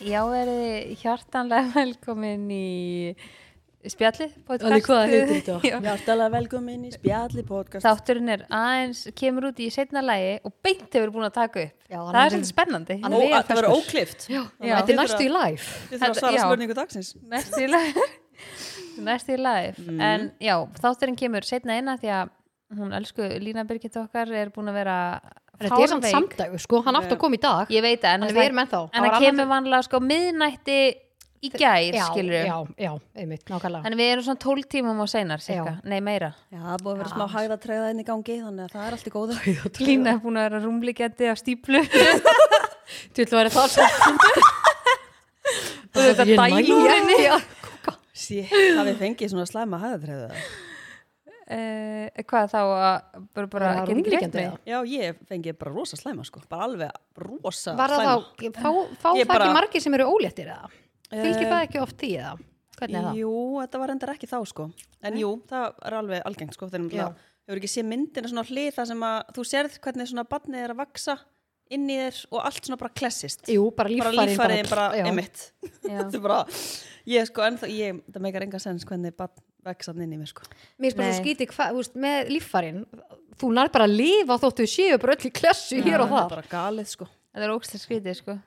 Já, verið hjartanlega velkomin í spjallið podcast. Alveg hvað heitir þetta? Já. Hjartalega velkomin í spjalli podcast Þátturinn er aðeins, kemur út í setna lægi og beint hefur búin að taka upp. Já, hann það er- er svolítið spennandi. hann Ó, er- að Það verður óklift Já, Já. þetta er næstu í live. Við þurfum að Þetta- svara já. spurningu dagsins Næst í live. Næst í live. Mhm. En já, þátturinn kemur setna inn að því að hún elsku Lína Birgit okkar er búin að vera Þetta er samt fárveik. samdagur, sko, hann átti að koma í dag. Ég veit það, en Þannig það- við erum ennþá. En Það var það annað- kemur vanlega sko miðnætti í gær, Já, skilur Já, já, einmitt, nákvæmlega. En við erum svona 12 tímum á seinar, cirka. nei meira. Já, það er búið að vera smá hægða treyða inn í gangi Þannig að það er allt í góðu Lína er búin að vera rúmlíkjandi á stíplu Þú ætlum að vera það svo. og þetta Ég næ- dælu úr henni. Já, Sér, það við fengið svona slæma hægða treyða Uh, hvað þá að bara, bara Það var geta ekki greitt rúmliggjandi mig? eða? Já, ég fengið bara rosa slæma sko Bara alveg rosa Var það slæma þá, fá, fá Ég það bara- ekki margir sem eru óléttir eða? Fylgir Eh, það ekki oft því eða? Hvernig er það? Jú, þetta var endar ekki þá sko En jú, það er alveg algengt sko Þegar Já. náttúrulega hefur ekki séð myndina svona á hlið Það sem að þú sérð hvernig svona barnið er að vaksa inn í þér og allt svona bara klessist Jú, bara bara líffærin. líffærið bara, já. einmitt Já. þetta er bara, ég sko ennþá ég, það meikar enga sens hvernig barn vex hann inn í mér sko Mér spyrir svo Nei. skítið, hvað, þú veist, með líffærin, þú nær bara að lifa þóttu séu bara öll í klessu hér og það er þar. bara galið sko Það er ógstlega skrítið sko.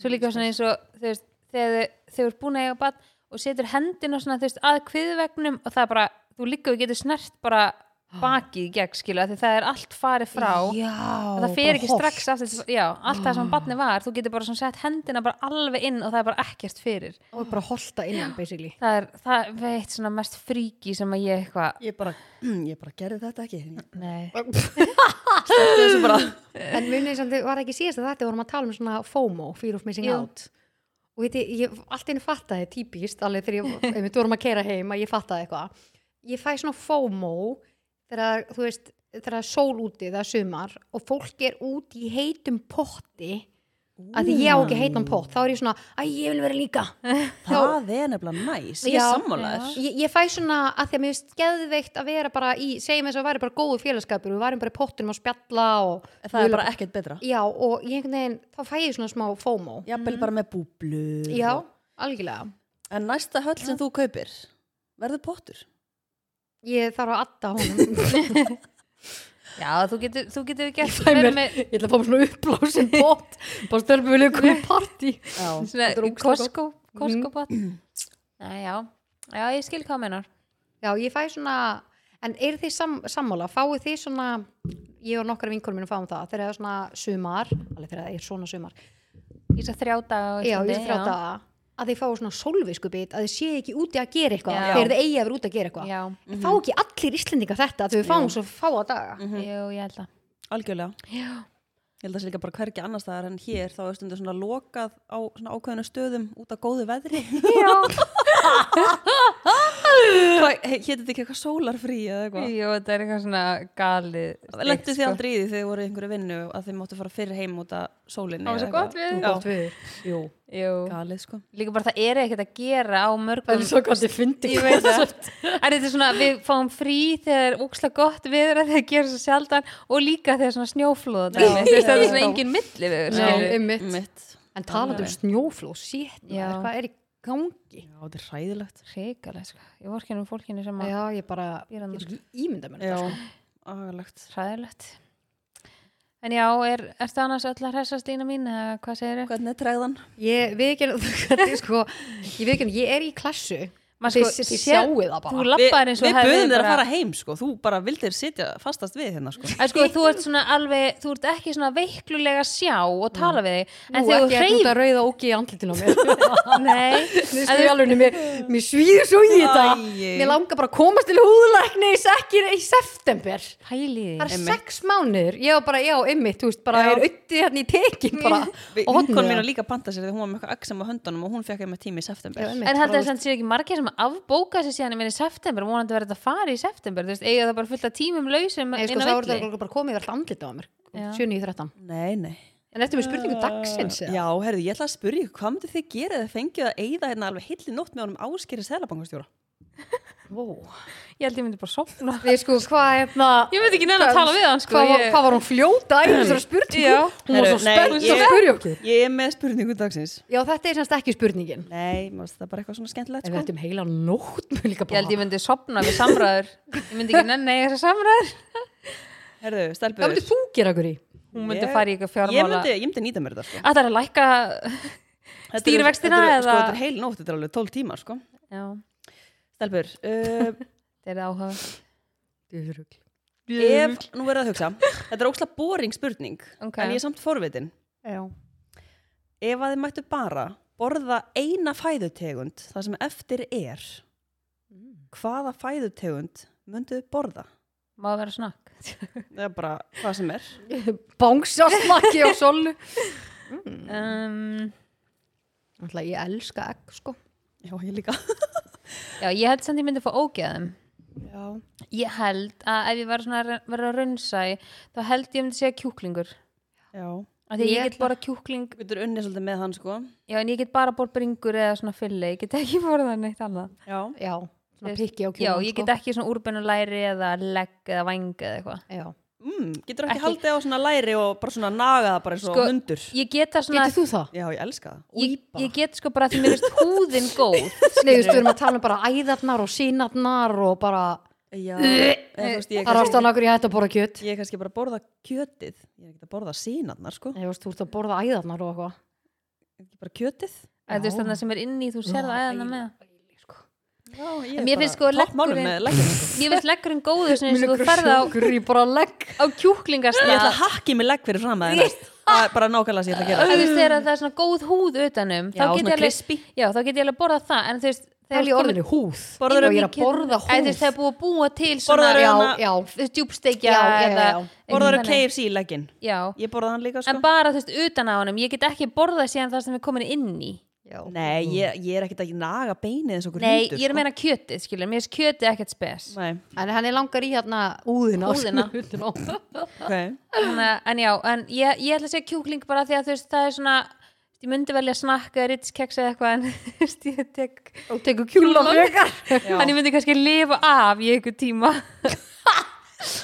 Svo líka svona eins og þú veist, þegar þau- þau eru búin að eiga bann og setur hendina svona þú veist, að kviðvegnum og það er bara, þú líka við getur snert bara bakið í gegn skilu af því það er allt farið frá Já, Ah. og það fer ekki strax aftur, til- já, allt það sem barni var, þú getur bara svona sett hendina bara alveg inn og það er bara ekkert fyrir Og bara holta innan, basically. það er, það er eitt svona mest fríki sem að ég eitthvað ég bara, mm, ég bara gerði þetta ekki Nei. Þetta er svo bara, En munið sem þið var ekki síðast að þetta vorum að tala um svona FOMO, Fear of Missing Jú. Out og veit ég, ég allt einu fattaði típist, alveg þegar ég, einmitt vorum að keira heim að ég fattaði eitthvað ég fæ svona FOMO þegar þú veist, þegar það er sól úti það er sumar og fólk er út í heitum potti að því ég á ekki heitan pott, þá er ég svona að ég vil vera líka þá, það er nefnilega næs ég Já. er sammálaður ég, ég fæ svona að því að mér finnst geðveikt að vera bara í, segjum þess að væri bara góðu félagskapur, við værum bara í pottinum að spjalla og það er bara ekkert betra Já, og ég einhvern veginn, þá fæ ég svona smá FOMO. jafnvel bara með búblu Já, algjörlega. en næsta höll sem þú kaupir verður pottur Ég þarf að adda honum. Já, þú getur, þú getur gert Fæ mér- verið með ég ætla að fá mér svona uppblásin bót, bara stjálfum við leikum í partí. já, svona Þetta er ógeðslega Mm. Costco, Costco bot Nei, já, já, ég skil hvað þú meinar Já, ég fæ svona, en eru þið sam, sammála? Fáu þið svona, ég og nokkra vinkonum mínum fáum það, þegar það er svona sumar, alveg þegar það er svona sumar, Í þess að þrjá daga á já, Íslandi, ég þráta að þið fáu svona sólvisku bit, að þið séu ekki úti að gera eitthvað, Já. þegar þið eigi að vera úti að gera já, eitthvað. já, Mm Fá ekki allir Íslendinga þetta, að þau fáum svo fáa daga. Mhm. jú, ég held að algjörlega Já, ég held að það sé líka bara hvergi annars staðar en hér þá er stundu svona lokað á svona ákveðinu stöðum út af góðu veðri já, hétt þetta ekki eitthvað sólarfrí eða eitthvað jú, þetta er eitthvað svona galið Lendu þið aldrei í því þegar þið voru í einhverju vinnu að þið máttu fara fyrir heim út að sólinni Það var svo eða gott við. Já, Gott við. Jú. Jú, galið sko líka bara það er ekkert að gera á mörgum svo gott þið fyndi. Ég veit það. En þetta er svona, við fáum frí þegar úksla gott viður að þegar gerum svo sjaldan og líka þegar svona snjóflóða dæmi. Já. Þú veist, það er Já. svona engin milli við, Nei, skilur. einmitt. mitt En talað um snjóflóð, sítt, Já. hvað er í gangi? Já, þetta er hræðilegt Ríkalega, sko. Ég vor ekki nú fólkinu sem að Já, ég bara, Ég ég er annars- er ímynda mér Já, þetta. agalegt hræðilegt. En já, er, ertu annars öll að hressast lína mín eða hvað segir þau? Hvernig er træðan? Ég viðkjörn, þetta er sko, ég viðkjörn, ég er í klassu. Þið sko, sjáu það Þú bara. lappar eins og við hefðir buðum þér að bara- fara heim sko Þú bara vildir sitja fastast við hérna sko En sko, þú ert svona alveg, þú ert ekki svona veiklulega að sjá og tala við þig, en Mm. Nú, þegar þú ekki að hreyfir, hlúta rauða ógi í andlitinu á mér. nei, Þið en sko í þú- alveg, mér, mér svýður svo í þetta. Æi. Mér langar bara að komast til húðlækni í sekkir í september. pæli Það er því. sex mánuður. Ég var bara, já, ymmið, þú veist, bara Já. er uttið hérna í tekin bara. Við- og hornið Vinkon það. hérna. mín að líka banta sér þegar hún var með eitthvað aksam á höndunum og hún fekk einmitt tími í september Já, einmitt. En held bara, að það séu ekki margir sem afbóka sér síðan ég meina í september, vonandi verður þetta að fara í september þú veist, eiga það bara fullt af tímum lausum Nei, sko, inn á þá er villi þetta bara komið alltaf andlitið á mér. Já. Uh, 7.9.13. Nei, nei En eftir með spurningu dagsins eða? Já, herðu, ég ætla að spyrja ykkur, hvað myndu þið gera ef þið fengið að eyða hérna alveg hilli nótt með honum áskeri seðlabankastjóra? wow. ég held ég myndi bara sofna Við sko, hvað hérna ég myndi ekki nefn að tala við hann sko hvað, var, ég, hvað var hún fljóta í þessari spurningu? Já. Hún var Herru, svo nei, spennt ég- að spyrja okkur Ég er með spurningu dagsins. Já, þetta er semst ekki spurningin Nei, mér finnst það bara eitthvað svona skemmtilegt En við sko. ættum heila nótt mun líka ég bara held ég myndi sofna við samræður ég myndi ekki nefn að eiga þessar samræður Herðu, Hvað stelpur. myndir þú gera okkur í? hún myndi Ég- fara í eitthvað Ég fjármála myndi, ég myndi nýta mér þetta sko. að það er að lækka Þetta eru- Stýrivextina þetta eru- Sko, eða- þetta er heil nótt, þetta er alveg 12 tímar sko. já, Stelpur, uh, þetta er áhuga Dyrugl. ef, nú verður að hugsa, þetta er ókslega boring spurning, Ok. en ég er samt forvitin. Já. Ef að þið mættu bara borða eina fæðutegund, það sem eftir er, Mm. hvaða fæðutegund myndu þið borða? má það vera snakk Það er bara hvað sem er. Bangsjásmakki á solu Mm. um, Þannig ég elska egg sko Já, ég líka. já, ég held samt ég myndi fá ógeðum Já. ég held að ef ég var svona að vera að raunsa í, þá held ég myndi segja kjúklingur Já. af því að Ég ég get ætla- bara kjúkling Þú getur unnið svolítið með hann sko. Já, en ég get bara bór bringur eða svona fylli, ég get ekki borðað neitt annað. Já. Já, svona Veist, pikki á sko. Já, kjólum ég get ekki svona úrbennu læri eða legg eða vang eða eitthvað. ekki Já. Mm, getur ekki, Ekki- haldið á svona læri og bara svona nagaða bara eins og Sko- hundur. Ég get það svona, Getur þú það? Já, ég elska það. ég, Úlpa. ég get sko bara því mér veist húðin góð. Nei, þú veist, við erum að tala um bara æðarnar og sínarnar og bara Já. Eða, þú veist, ég, er Það er kannski, ástæðan okkur ég hætti að borða kjöt ég er kannski bara að borða kjötið. Ég er ekki að borða sínarnar sko. Nei, þú veist, þú ert að borða æðarnar og eitthvað Ég er ekki bara kjötið. Eða þú veist þannig sem er inni, þú sér það eða með. Já, ég En mér finnst sko toppmálum leggurinn- með leggurinn. sko. Ég veist leggurinn góður sem eins og þú ferð á, sjúkur í bara legg á Ég ætla kjúklingastað. að hakki mig legg fyrir fram að næst. Það er bara nákvæmlega sem ég ætla Ef að gera. þú veist þegar það er svona góð húð utanum, þá Já, get ég svona alveg, crispy. já, þá get ég alveg borðað það, en þú veist, Það þegar er í orðinu húð Borðarðu Og ég er að mikið- borða Eða þú veist, það er húð búið að búa til svona, já, Borðarðu- Já, Hérna- já þú veist, djúpstekja Já, já, já, eða eitthvað já. Borðar þannig. KFC legginn. Já, Ég borða hann líka sko. en bara þú veist utan á honum, ég get ekki borðað síðan það sem er komin inn í Já. Nei, ég, ég er ekkert að naga beinið eins og okkur Nei, hundur. ég er að meina kjötið, skilur, mér finnst kjötið ekkert spes sko. Nei, En henni langar í hérna úðina Húðina. Húðina ok. Þannig, að- En já, en ég, ég ætla að segja kjúkling bara því að þú veist, það er svona ég myndi velja snakka eða ritskeks eða eitthvað en þú veist, ég tek Og tekur kjúlan frekar en ég myndi kannski lifa af í einhver tíma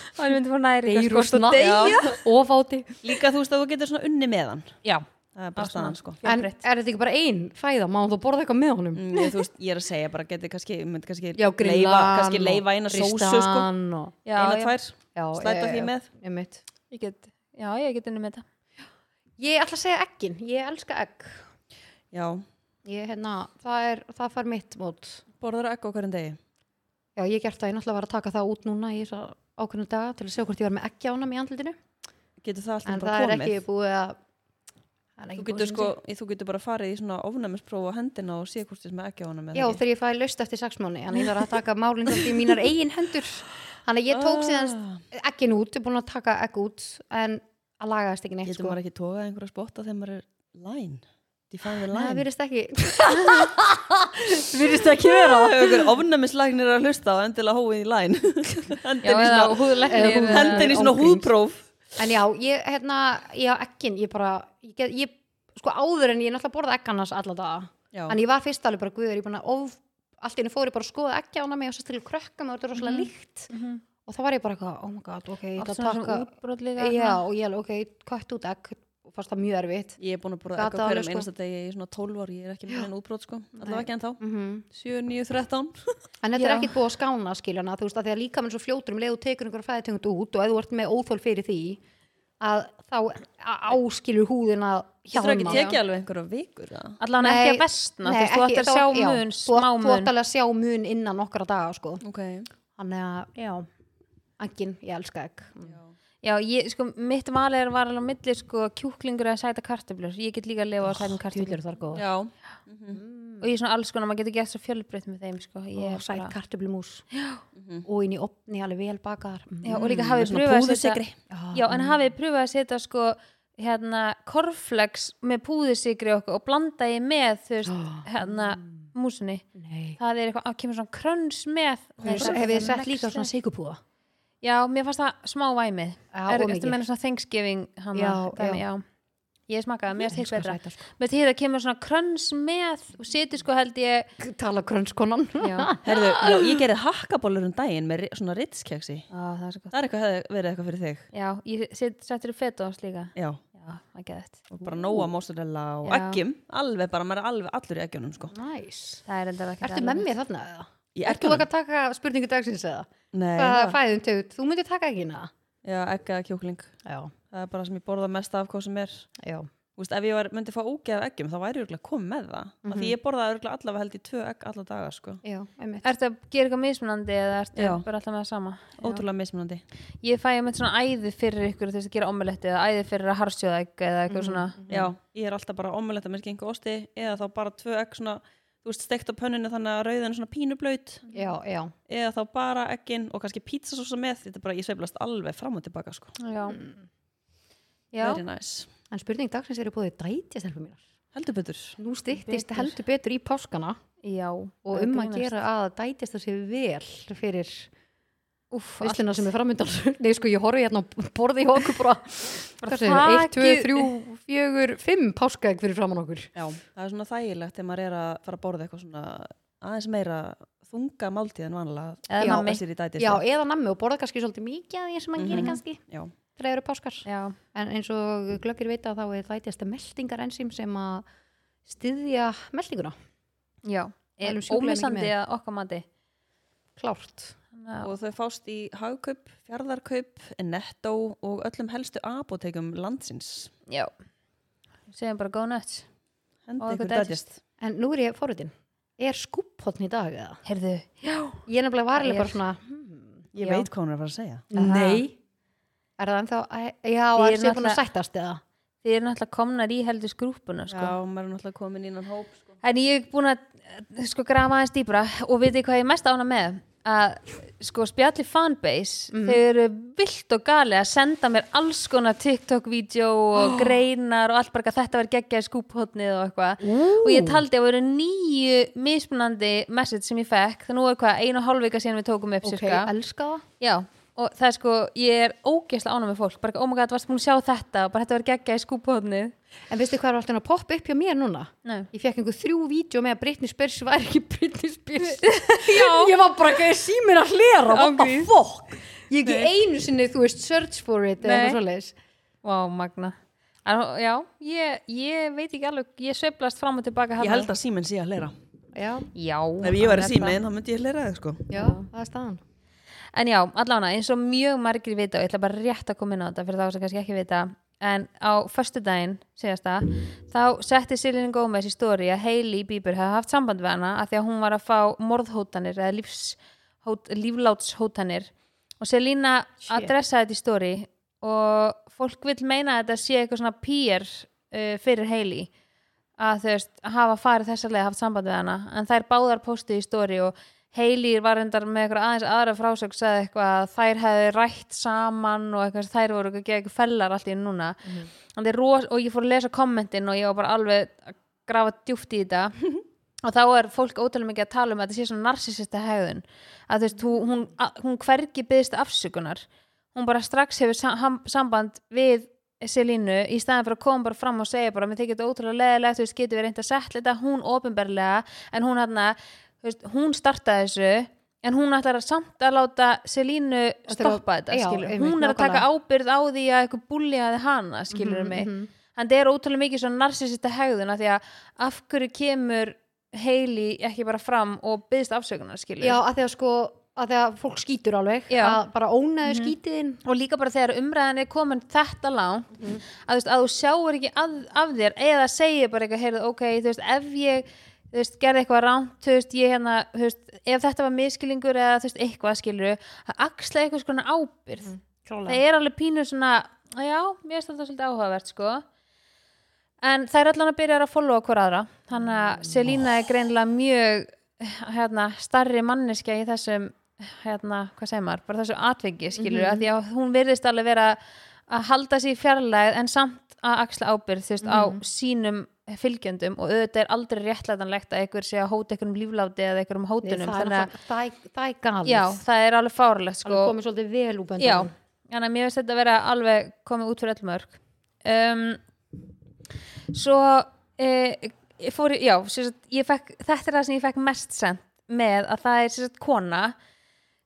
og ég myndi fá næri Deyr og snakk Já, Ofáti Líka þú veist að þú getur svona unni með hann. já. Það er bara Á, svona. staðan sko. En er Fjölbreytt. þetta ekki bara ein fæða? Má þú borða eitthvað með honum? Mm, ég, þú veist, ég er að segja bara, geti kannski, myndi kannski Já, grillan leifa, kannski leifa eina sósu sko. og... Já, eina já. tvær, já, slæta því með. Ég mitt ég get, já, ég get unni með þetta Ég ætla að segja eggin, ég elska egg Já, ég, hérna, það, er, það far mitt mót borðar ekko hverjum degi. Já, ég gert það, ég náttúrulega var að taka það út núna í þessa ákveðnu daga til að sjá hvort ég var með eggjánum í andlutinu Getur það En alltaf það er bara ekki komið. búið að það er ekki Þú búið getur, að sko, syngja. þú getur bara farið í svona ofnæmisprófa hendina og sé hvort þess með ekki á hana með Já, þegar ég fæði löst eftir sex mánu Þannig ég þarf að taka málinn þátt í mínar eigin hendur Þannig að ég Ah. tók síðan eggin út, ég er búin að taka egg út En að lagaðist ekki neitt Getur sko maður ekki tókað einhverja spotta þegar maður er læn? Define the Nei, Það line. virðist ekki virðist ekki vera. Ykkur ofnæmislæknir er að hlusta og endilega hóið í læn. Já, hendin í eða svona, húðlæknir eða- eða- hendin í svona Ágríns. húðpróf. En já, ég, hérna, já, ekkin, ég bara, ég, get- ég sko áður en ég náttúrulega borða ekk annars alla daga. Já. En ég var fyrst alveg bara guður, ég bara, of, allt í henni fór ég bara að skoða ekki ána mig og sérstaklega krökkum og þetta er rosalega líkt. Mhm. Og þá var ég bara eitthvað, oh my god, ok, ég Allt ætla svona að svona taka, útbrot líka já, og ég alveg, ok, kvætt út ekk, og fannst það mjög erfitt. Ég er búin að borða Gat eitthvað alveg, hverjum sko. einasta degi í svona 12 ár, ég er ekki með enn útbrót sko, allavega ekki enn þá. Mm 7, 9, 13. En þetta er Já. ekkit búið að skána, skiljana, þú veist, að því að líka minn svo fljótur um leið og tekur einhverja fæðitöngd út og ef þú ert með óþól fyrir því, að þá áskilur húðin að Þú hjálma. þurfa ekki tekið alveg einhverja vikur, eða? allan ekki að vestna þú veist, þú ætti að sjá mun, smá Þú mun ætti alveg að sjá mun innan nokkra daga, sko. Ok. Þannig að, já, engin, ég elska egg. já, ég, sko, mitt valið var alveg á milli sko, kjúklingur eða sæta kartöflur ég get líka að lifa á sætum kartöflur Djúlir þar góð. Já. og ég er svona alls konar, maður getur gert svo fjölbreytt með þeim sko. ég, Og er sætt bara- kartöblumús. Og inn í opni alveg vel bakaðar. já, og líka Mm, Með hafið svona pröfað að setja púðusykri. já, en hafið pröfað að setja sko, hérna, korflex með púðusikri og, og blanda ég með þú veist, hérna, músinni Nei. það er eitthvað, að kemur svona kröns með Nei, Hefur það- þið það er sett líka next svona level. sigupúða? já, mér fannst það smá væmið Já, er of þetta mikið. meina svona Thanksgiving hana, Já, dæmi, já. já. ég smakkaði, mér finnst hitt Elskar betra sætar, sko. með því það kemur svona kröns með og setur sko held ég tala grönskonan já, Herðu, já, ég gerði hakkabólur um daginn með ri- svona ritskjaksi. á, það er svo gott Það er eitthvað, hefði verið eitthvað fyrir þig. já, ég set, setur fetost líka Já, já, það geða þetta bara nóa mozzarella og Já. eggjum. Alveg bara, maður er alveg allur í eggjunum, sko. næs það er enda ekki Ertu með mér þarna eða? Í Ert þú eggjunum? ekki að taka spurningu dagsins eða? Nei, Hvað það- fæðum tegund? Þú myndir taka ekki hana? já, egg eða kjúkling. Já, Það er bara sem ég borða mest af hvað sem er. já, Þú veist, ef ég var, myndi fá ógeð af eggjum, þá væri ég örgulega komið með það. Mm Því ég borðaði örgulega allavega held í tvö egg alla daga, sko. já, einmitt Ertu að gera eitthvað mismunandi eða ertu Já. bara alltaf með það sama? Ótrúlega mismunandi. Ég fæ ég með svona æði fyrir ykkur þess að gera omelett eða æði fyrir að harsjóða egg eða eitthvað svona Mm, Já, ég er alltaf bara omeletta með skengu og osti eða þá bara tvö egg svona, þú veist, steikt á pönninu þannig að rauðin er svona pínublaut Já, já, eða þá bara egginn og kannski pítsasósa með, þetta er bara, ég sveiflast alveg fram og tilbaka, sko. Já, Mm. já. Very nice. en spurning dagsins eru búið dætja stelpum mínar Heldur betur. Nú styttist Betur. heldur betur í páskana já. og um að gera að dætjast það sé vel fyrir Úff, vissluna sem er framöndan Nei, sko, ég horfi hérna og borði í okkur bara Bara Hvað segir, 1, 2, þakið- 3, 4, 5 páskaegg fyrir framann okkur Já, það er svona þægilegt þegar maður er að fara að borða eitthvað svona aðeins meira þunga máltíð en vanlega Eða Já, nammi. þessir í dæti. sko. Já, eða nammi og borða kannski svolítið mikið af því sem maður gerir kannski Já. þegar það eru páskar já, En eins og glöggir veita þá er þættjasta meldingar ensým sem að styðja meldinguna. já. Mælum Er sjúklega mikið ómissandi með. að okkar mati Klárt. Þannig að- Og þau fást í hagkaup, fjardarkaup, netto og öllum helstu apotekum landsins. Já Segjum bara góð nött Hendi Og ykkur eitthvað digest. dætist. En nú er ég fóruðin. Er skúphotn í dag eða? Heyrðu Ég er Það nefnilega varlega er. bara svona, hmm, Ég Já. veit hvað hún er að fara að segja. Aha. nei. Er það ennþá, æ, já, Því er er það búin að náttúrulega- sættast eða? Þið eru náttúrulega komnar í heldur skrúpuna sko. Já, maður er náttúrulega komin innan hóp sko. En ég er búin að eh, sko, grafa aðeins dýbra og veitir hvað ég er mest ána með að sko spjalli fanbase þau eru vilt og gali að senda mér alls konar TikTok-vídeó og greinar og allt bara eitthvað, þetta verið geggjaði skúphotnið og eitthvað og ég taldi að voru nýju mismunandi message sem ég fekk þannig nú er hvað, einu og hálf vika síðan við tókum upp Ok, cirka. elska það. Já, og það er sko, ég er ógeðslega ánum með fólk, bara, oh my god, varst múin að sjá þetta og bara þetta var geggja í skúpahotnið En veistu hvað er alltaf að poppa upp hjá mér núna? Nei. Ég fekk einhver þrjú vídeo með að Britney Spears var ekki Britney Spears. ég var bara ekki að sí mér að hlera, what the Ángríns. fuck? Ég ekki einu sinni, þú veist, search for it eða Nei. eitthvað svoleiðis. Vá, magna. En, já, ég, ég veit ekki alveg, ég sveiflast fram og tilbaka Ég held að síminn sé að hlera. Já, Já. Ef ég væri hann er síminn, þá myndi ég hlera þig sko. já, það er staðan. það. En já, allána, eins og mjög margir vita og ég ætla bara rétt að koma inn á þetta fyrir þá sem kannski ekki vita en á föstudaginn, segjast það þá setti Silin Gómez í stóri að Hailey Bieber hefði haft samband við hana af því að hún var að fá morðhótanir eða lífshót, líflátshótanir og Selina adressaði þetta í stóri og fólk vil meina að þetta sé eitthvað svona pýr uh, fyrir Hailey að þú veist, hafa farið þessa leið haft samband við hana, en þær báðar postuðu í stóri og Hailey var endar með eitthvað aðeins aðra frásögn sagði eitthvað að þær hefði rætt saman og eitthvað þær voru eitthvað gegn fellar allt í einu núna mm. ros, og ég fór að lesa kommentin og ég var bara alveg að grafa djúpt í þetta og þá er fólk ótrúlega mikið að tala um að þetta sé svona narsisista hegðun að þú veist, hún, hún, að- hún hvergi byggðist afsökunar hún bara strax hefur sam ham- samband við Selínu í staðan fyrir að koma bara fram og segja bara, mér þykir þetta ótrúlega leðilegt þú veist, getur við reynd að setla þetta, hún ofinberlega en hún hann veist, hún startaði þessu en hún ætlar að samt að láta Selínu Þetta er að- stoppa þetta, já, skilur einmitt, hún er að taka nákvæmlega. Mhm, ábyrð á því að eitthvað búljaði hana, skilur mm mig en það er ótrúlega mikið svona narsisista hegðuna því að af hverju kemur Hailey ekki bara fram og byggðist afsökunar, skilur Já, að því að sko, að því að fólk skýtur alveg Já. Mhm. að bara ónaðu mm. skýtiðin og líka bara þegar umræðan er komin þetta langt að, þú veist, að þú sjáur ekki að, af þér eða segir bara eitthvað heyrðu, ok, þú veist, ef ég þú veist, gerði eitthvað rámt, þú veist, ég hérna þú veist, ef þetta var miskilingur eða þú veist, eitthvað skilur, að axla eitthvað skona ábyrð það er alveg pínu svona að já, mér er þetta svolítið áhugavert sko en það er allan að byrja að followa hver aðra þannig Mm. að Selína er greinilega mjög hérna, starri manneskja í þessum hérna, hvað segir maður, bara þessu atveiki skilur, mm Mhm. að því að hún virðist alveg vera að halda sér í fjarlæð en samt að axla ábyrð, þú veist, Mhm. á sínum fylgjöndum og auðvitað er aldrei réttlætanlegt að einhver sé að hóta einhverjum lífláti eða einhverjum hótunum, það, er þannig að náttúrulega- það, er- það er galið já, það er alveg fárlegt sko alveg komið svolítið vel Já, úr böndum þannig að mér finnst þetta að vera alveg komið út fyrir öll mörg um, svo e, fór, ég- já, sem sagt, ég fekk, þetta er það sem ég fekk mest sent með að það er sem sagt, kona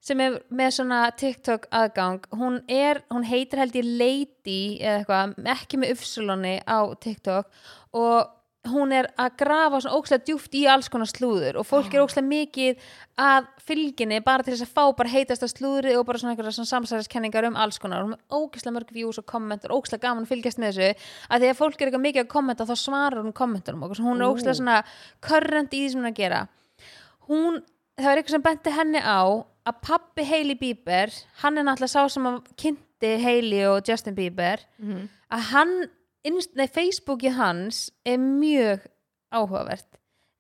sem er með svona TikTok aðgang hún, er, hún heitir held ég Lady eða eitthvað, ekki með uppsulunni á TikTok og hún er að grafa svona ókslega djúft í alls konar slúður og fólk er ókslega mikið að fylginni bara til þess að fá bara heitasta slúðri og bara svona einhverja svona samsæðiskenningar um alls konar og hún er ókslega mörg views og kommentar ókslega gaman að fylgjast með þessu að því að fólk er eitthvað mikið að kommenta þá svarar hún kommentunum og hún er ókslega svona körrend í því sem hún er að gera hún, það var eitthvað sem benti henni á að pappi Hailey Bieber hann er náttúrulega sá sem að kynnti Hailey og Justin Bieber Mhm. að hann, innst, nei, Facebookið hans er mjög áhugavert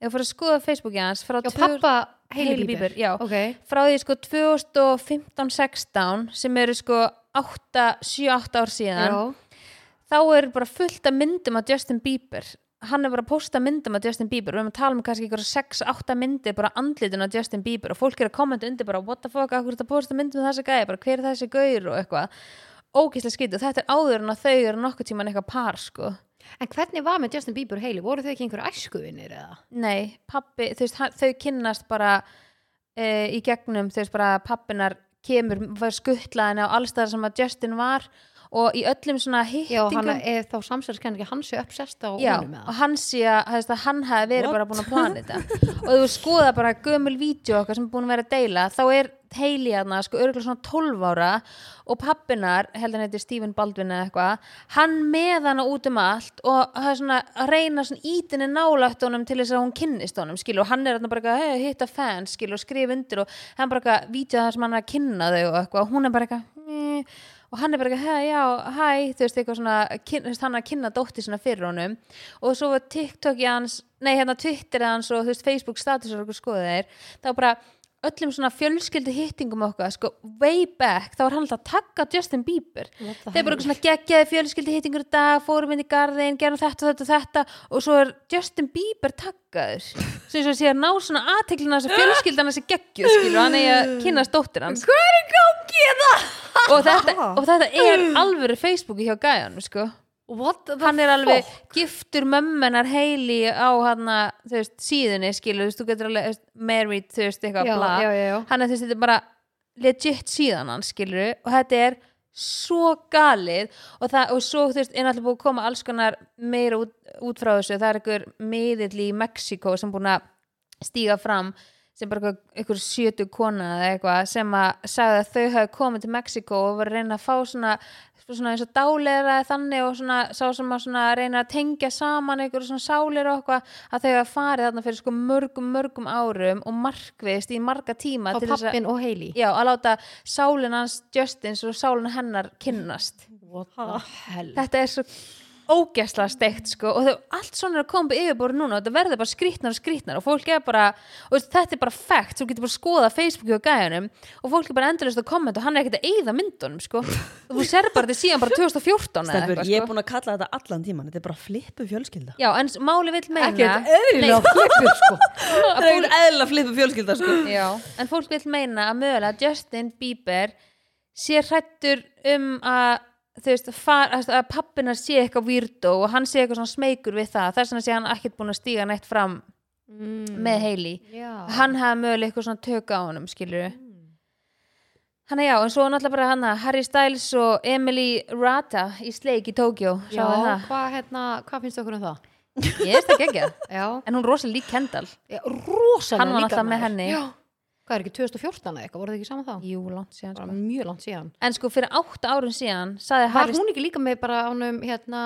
ef þú fyrir að skoða Facebookið hans frá Já, tvö- pappa Hailey Hailey Bieber. Bieber, já. Ok. frá því sko 2015-16 sem eru sko 7-8 ár síðan Já. þá er bara fullt af myndum af Justin Bieber hann er bara að posta myndum af Justin Bieber við erum að tala um kannski ykkur 6-8 myndir bara andlitin á Justin Bieber og fólk er að kommenta undir bara what the fuck, akkur er þetta að posta myndum af þessa gæði bara hver er þessi gaur og eitthvað ógislega skrítið, þetta er áður en að þau eru nokkuð tíman eitthvað par sko En hvernig var með Justin Bieber og Hailey? Voru þau ekki einhverju æskuvinir eða? nei, pappi, þú veist, hann, þau kynnast bara e, í gegnum þú veist bara pappinar kemur var skuttlaðin á allstæðar sem að Justin var og í öllum svona Já, hann hittingum er þá samsæðiskenningi hans er uppsest á Já, honum og eða? hann sé að, þú veist, að hann hafi verið What? bara búin að plana þetta og ef þú skoða bara gömul vídeo okkar sem er búin að vera að deila þá er Hailey hérna sko örgulega svona 12 ára og pappinar, held hann heiti Stephen Baldwin eða eitthvað, hann með hana út um allt og það er svona að reyna svona ítinni nálægt honum til þess að hún kynnist honum, skilu, og hann er hérna bara eitthvað, hey, hitta fans, skilu, og skrif undir og hann bara eitthvað, vídeo það sem hann er að kynna þau og eitthvað, og hún er bara eitthvað "Mm." og hann er bara eitthvað, "Hey, já, hæ, þú veist, eitthvað svona, kyn, þú veist, hann er að kynna dóttir sinna fyrir honum og svo var TikTok í hans, nei, hérna Twitter hans og þú veist, Facebook statusar okkur skoðu þeir, þá bara öllum svona fjölskyldu hittingum okkar, sko, way back, þá var hann alltaf að taka Justin Bieber What the þeir bara eitthvað svona geggjaði fjölskyldi hittingur í dag fórum inn í garðin, gerum þetta, þetta, þetta og svo er Justin Bieber takkaður sem eins og sé að ná svona aðteklina þess að fjölskyldan þessi geggjuð skilur hann eigi að kynast dóttir hans Hvað er í gangi það? og þetta, og þetta er alvöru Facebooki hjá gæjan sko. What the hann er alveg fuck? giftur mömmenar heili á hana, þú veist, síðunni skilur, þú veist, þú getur alveg þú veist, married þú veist, eitthvað Já, bla já, já, já. hann er þú veist, þetta er bara legit síðan hann skilur og þetta er svo galið og, það, og svo þú veist, er náttúrulega búið að koma alls konar meira út, út frá þessu það er einhver miðill í Mexiko sem búin að stíga fram sem bara einhver- einhver sjötu kona eða eitthvað sem að sagði að þau hafi komið til Mexiko og var að reyna að fá svona, svona eins og dáleira eða þannig og svona, sá sem að svona reyna að tengja saman einhver svona sálir og eitthvað að þau hafi farið þarna fyrir sko mörgum mörgum árum og markvist í marga tíma Á til þess að, pappin og Hailey. já, að láta sálin hans Justins og sálin hennar kynnast What the hell? þetta er svo ógæsla steikt sko og þau, allt svona er að koma upp yfirbúru núna og þetta verður bara skrýtnar og skrýtnar og fólk er bara, og veist, þetta er bara fact þú getur bara að skoða Facebooki og gæjanum og fólk er bara endurlust að kommenta og hann er ekkert að eyða myndunum sko, og þú ser bara þetta síðan bara 2014 eða Stelbur, eitthvað ég er sko búin að kalla þetta allan tíman, þetta er bara flippu fjölskylda. já, en s- máli vill meina Ekkert eðlilega flippur sko. að Það er ekkert eðla flippu fjölskylda, sko. Já, en fólk vil meina að mögulega Justin Bieber sé hrættur um að þú veist, far, að, að pappina sé eitthvað weirdo og hann sé eitthvað svona smeykur við það þess vegna sé hann ekkert búin að stíga neitt fram með Hailey Já. hann hafa mögulega eitthvað svona tökka á honum skilur við hann já, en svo náttúrulega bara hann Harry Styles og Emily Rata í sleik í Tókjó, Já, sáðu það hvað hérna, hvað finnst okkur um það? ég veist ekki ekki, Já, en hún rosa lík Kendall Já, rosalega Hann var líka náttúrulega með maður. henni. Já, hvað er ekki 2014 eða eitthvað, voru það ekki saman þá? jú, langt síðan Bara sko. mjög langt síðan en sko fyrir átta árum síðan sagði Var Harry hún ekki líka með bara ánum hérna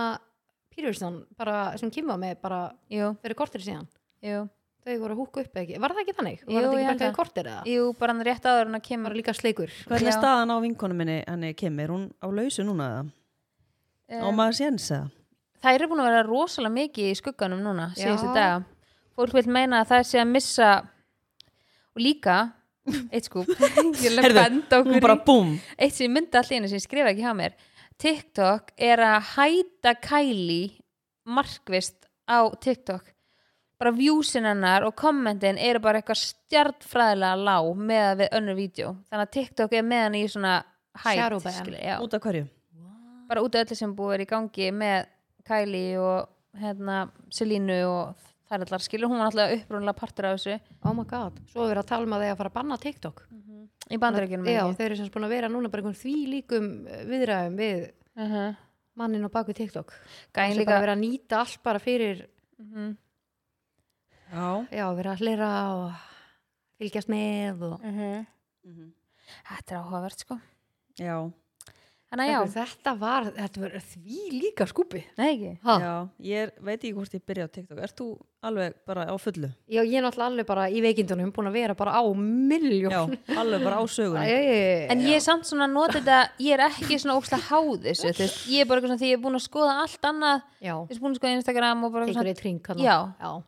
Peterson, bara sem kemur með bara jú, fyrir kortir síðan jú Þau voru að húka upp eða ekki, var það ekki þannig? Jú, Var það ég held ekki bara það. fyrir kortir eða? Jú, bara hann rétt áður en að Var kemur líka sleikur Hvernig er Já. staðan á vinkonu minni henni kemur? Hún á lausu núna eða? Á um, maður séns eða? Það eru búin að vera rosalega mikið í skugganum núna Já. síðustu daga Fólk vil meina að það sé að missa og líka eitt skúb ég er að benda hún okkur bara í búm. eitt sem ég myndi allir einu sem ég skrifa ekki hjá mér TikTok er að hæta Kylie markvist á TikTok bara viewsin hennar og kommentin eru bara eitthvað stjartfræðilega lág með við önnur vídeo þannig að TikTok er með hann í svona hætt Shadowban. skilur, já. Út af hverju? bara út af öllu sem búið er í gangi með Kylie og hérna, Selínu og þær allar skilur, hún var alltaf upprúnlega partur af þessu oh my god, svo er verið að tala um að þeir að fara að banna TikTok í bandarækjunum já, þau eru sem sagt búin að vera núna bara einhvern því líkum eh, viðræðum við uh -huh. mannin á baku TikTok gæn það er líka Uh-huh. bara að vera að nýta allt bara fyrir Mhm. Já. já, vera að hlera og fylgjast með og Mhm. Mhm. þetta er áhugavert sko Já. þannig að já, þetta var, þetta var því líka skúpi nei ekki já, Já, ég er, veit ekki hvort ég byrja á TikTok. Ert þú alveg bara á fullu? ég er náttúrulega alveg bara í veikindunum búin að vera bara á Já, miljón alveg bara á sögunum. En ég er samt svona að nota þetta, ég er ekki svona ókslega háð þessu, þú veist, ég er bara eitthvað svona því ég er búin að skoða allt annað, já, þú veist, búin að skoða Instagram og bara eitthvað tekur eitt ring þarna. Já. já, svona,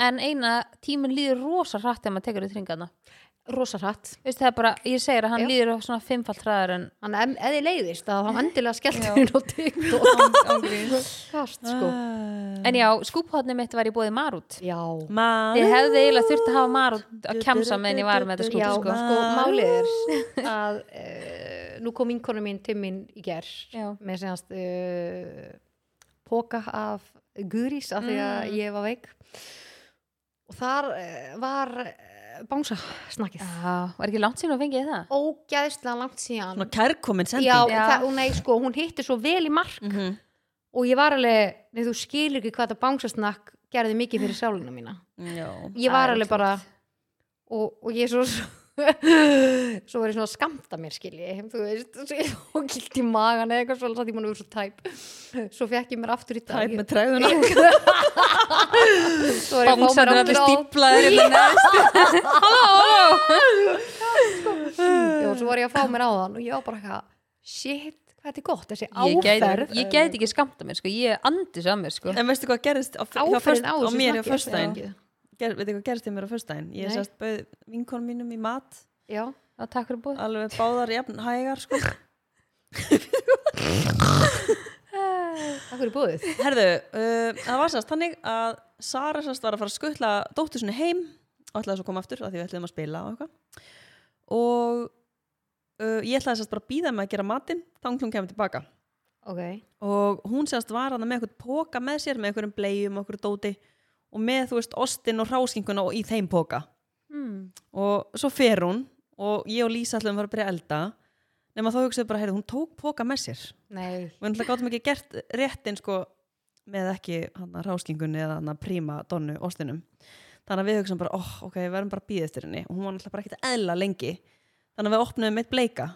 en eina, tíminn líður rosa hratt þegar maður tekur út hringarna. rosa hratt Þú veist, það er bara, ég segir að hann Já. líður svona fimmfalt hraðar en, Þannig að ef- ef þið leiðist að þá endilega skellturinn á TikTok Kast sko En en já, Mhm. skúphotni mitt var ég bóðið marút. Já, maður... Ég hefði eiginlega þurft að hafa marút að kemsa með en ég var með þetta skúp, já sko. sko málið er að uh, nú kom vinkonu mín til mín í ger Já. með segjast uh, póka af gurís af því að Mm. ég var veik og þar uh, var uh, bánsa snakkið Já, var ekki langt sín og fengið ég það? ógæðslega langt síðan Svona kærkomin sending. Já, Já. Það, og nei, sko, hún hitti svo vel í mark Mhm. og ég var alveg, nei þú skilur ekki hvað það bánsasnakk gerði mikið fyrir sálina mína Já. ég Það var er alveg ótrúlegt. bara og, og ég svo svo svo var ég svona að skamta mér skilji þú veist, svo ég og gilt í magan eða eitthvað svolítið, ég búin að vera svo tæp svo fekk ég mér aftur í dag Tæp með træðuna. svo var ég að fá um mér aftur á stíplaður hérna neðst. já, svo var ég að fá mér á þann og ég var bara eitthvað, shit, hvað þetta er gott þessi Ég áferð gæti- ég gæti ekki skamta mér, sko, ég andi svo að mér, sko. En veistu hvað gerðist á, hjá föst, áferðin á á þessu mér á snakki, þetta er föstudaginn? ekki- Ger, veitu hvað gerðist ég mér á föstudaginn? Ég Nei. sérst bauð vinkonum mínum í mat, já, Já, takk fyrir bóð. alveg báðar jafn hægar sko. það fyrir búið Herðu, uh, það var sérst þannig að Sara sérst var að fara að skuttla dóttur sinni heim og ætlaði svo að koma aftur af því við ætlaðum að spila og eitthvað og uh, ég ætlaði sérst bara að býða með að gera matinn þannig hún kemur tilbaka ok, og hún sérst var að með eitthvað póka með sér með einhverjum bleium og einhverjum dóti og með þú veist ostin og hráskinkuna og í þeim póka Mm. og svo fer hún og ég og Lísa ætlaðum að fara að byrja að elda nema þá hugsaðu bara, heyrðu, hún tók póka með sér nei og við gáttum ekki gert réttin sko, með ekki hana, ráskingunni eða hana, príma donnu ostinum þannig að við hugsaum bara, oh, ok, við verðum bara að býða eftir henni og hún var náttúrulega bara ekkert að eðla lengi þannig að við opnuðum eitt bleika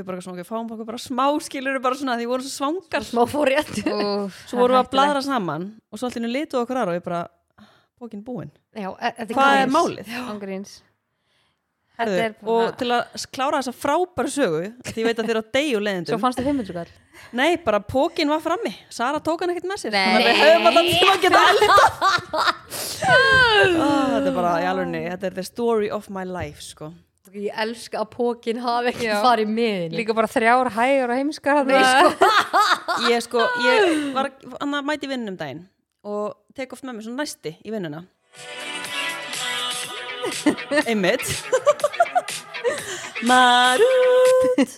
við bara svona, ok, fáum okkur bara smá skilur bara svona, því við vorum svo svangar smá fór rétt Úf, svo vorum við að bladra saman og svo allir litu okkur aðra og við bara "Ah, bókin búin, já, e- þetta hvað er gríns. málið? ángríns Herðu, Þetta er bara og til að s- klára þessa frábæru sögu því ég veit að þið eru á deyju Svo leiðindum fannst það 500 kall nei, bara pókin var frammi Sara tók hann ekkert með sér Nei. þannig að við höfum alltaf tíma að geta elda oh, þetta er bara í alveg þetta er the story of my life sko. Ég elska að pókin hafi ekki Já. farið miðin Líka bara þrjár hægur og heimskar Nei, sko ég sko ég var hann að mæti vinnum daginn og tek oft með mér svona næsti í vinnuna einmitt marút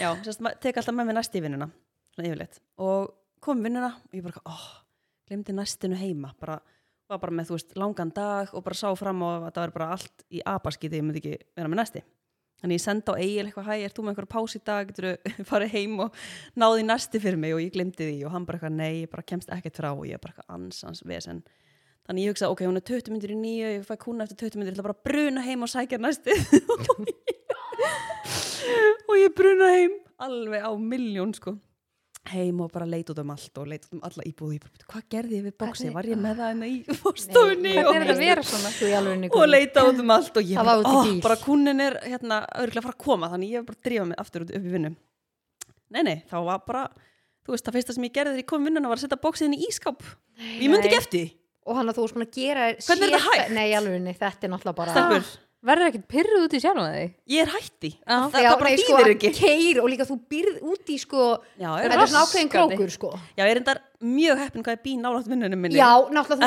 já, sérst, ma- tek alltaf með mér næsti í vinnuna svona yfirleitt og kom í vinnuna og ég bara, óh, glemdi næstinu heima bara, var bara með, þú veist, langan dag og bara sá fram á að það var bara allt í apaskiti, ég myndi ekki vera með næsti þannig ég sendi á Egil eitthvað, hæ, ert þú með einhver pás í dag, getur farið heim og náði næsti fyrir mig og ég glemdi því og hann bara eitthvað, nei, ég bara kemst ekkert frá og ég bara eitthvað ansans vesen þannig ég hugsa, ok, hún er 20 myndir í nýju ég fæ kúna eftir 20 myndir, ég ætla bara að bruna heim og sækja næsti og ég bruna heim alveg á miljón sko heim og bara leit út um allt og leit út um alla íbúð ég bara, "Bíddu, hvað gerði ég við bóksi, Hvernig- var ég með það hérna í fórstofunni Hvernig er þetta að og- vera svona? Þú í alveg og leita út um allt og ég Það bara, var út í "Ah, bíl." bara kúnin er hérna örgulega fara að koma þannig ég var bara að drífa mig aftur út upp í vinnu nei nei, þá var bara þú veist, það fyrsta sem ég gerði þegar ég kom í vinnuna var að setja bóksiðin í ískáp ég myndi ekki eftir því, Og hann að þú varst búin að gera Hvernig er þetta sér- hægt? Nei, í alveg, þetta er náttúrulega bara stelpur Verður ekkert pyrruð út í sjálfum þig? ég er hætti, Já. það, það bara þýðir ekki Keir og líka þú býrð út í sko já, ég Þetta sko, er svona ákveðin raskandi. krókur sko já, ég er endar mjög heppin hvað ég bý nálátt vinnunum minni Já, náttúrulega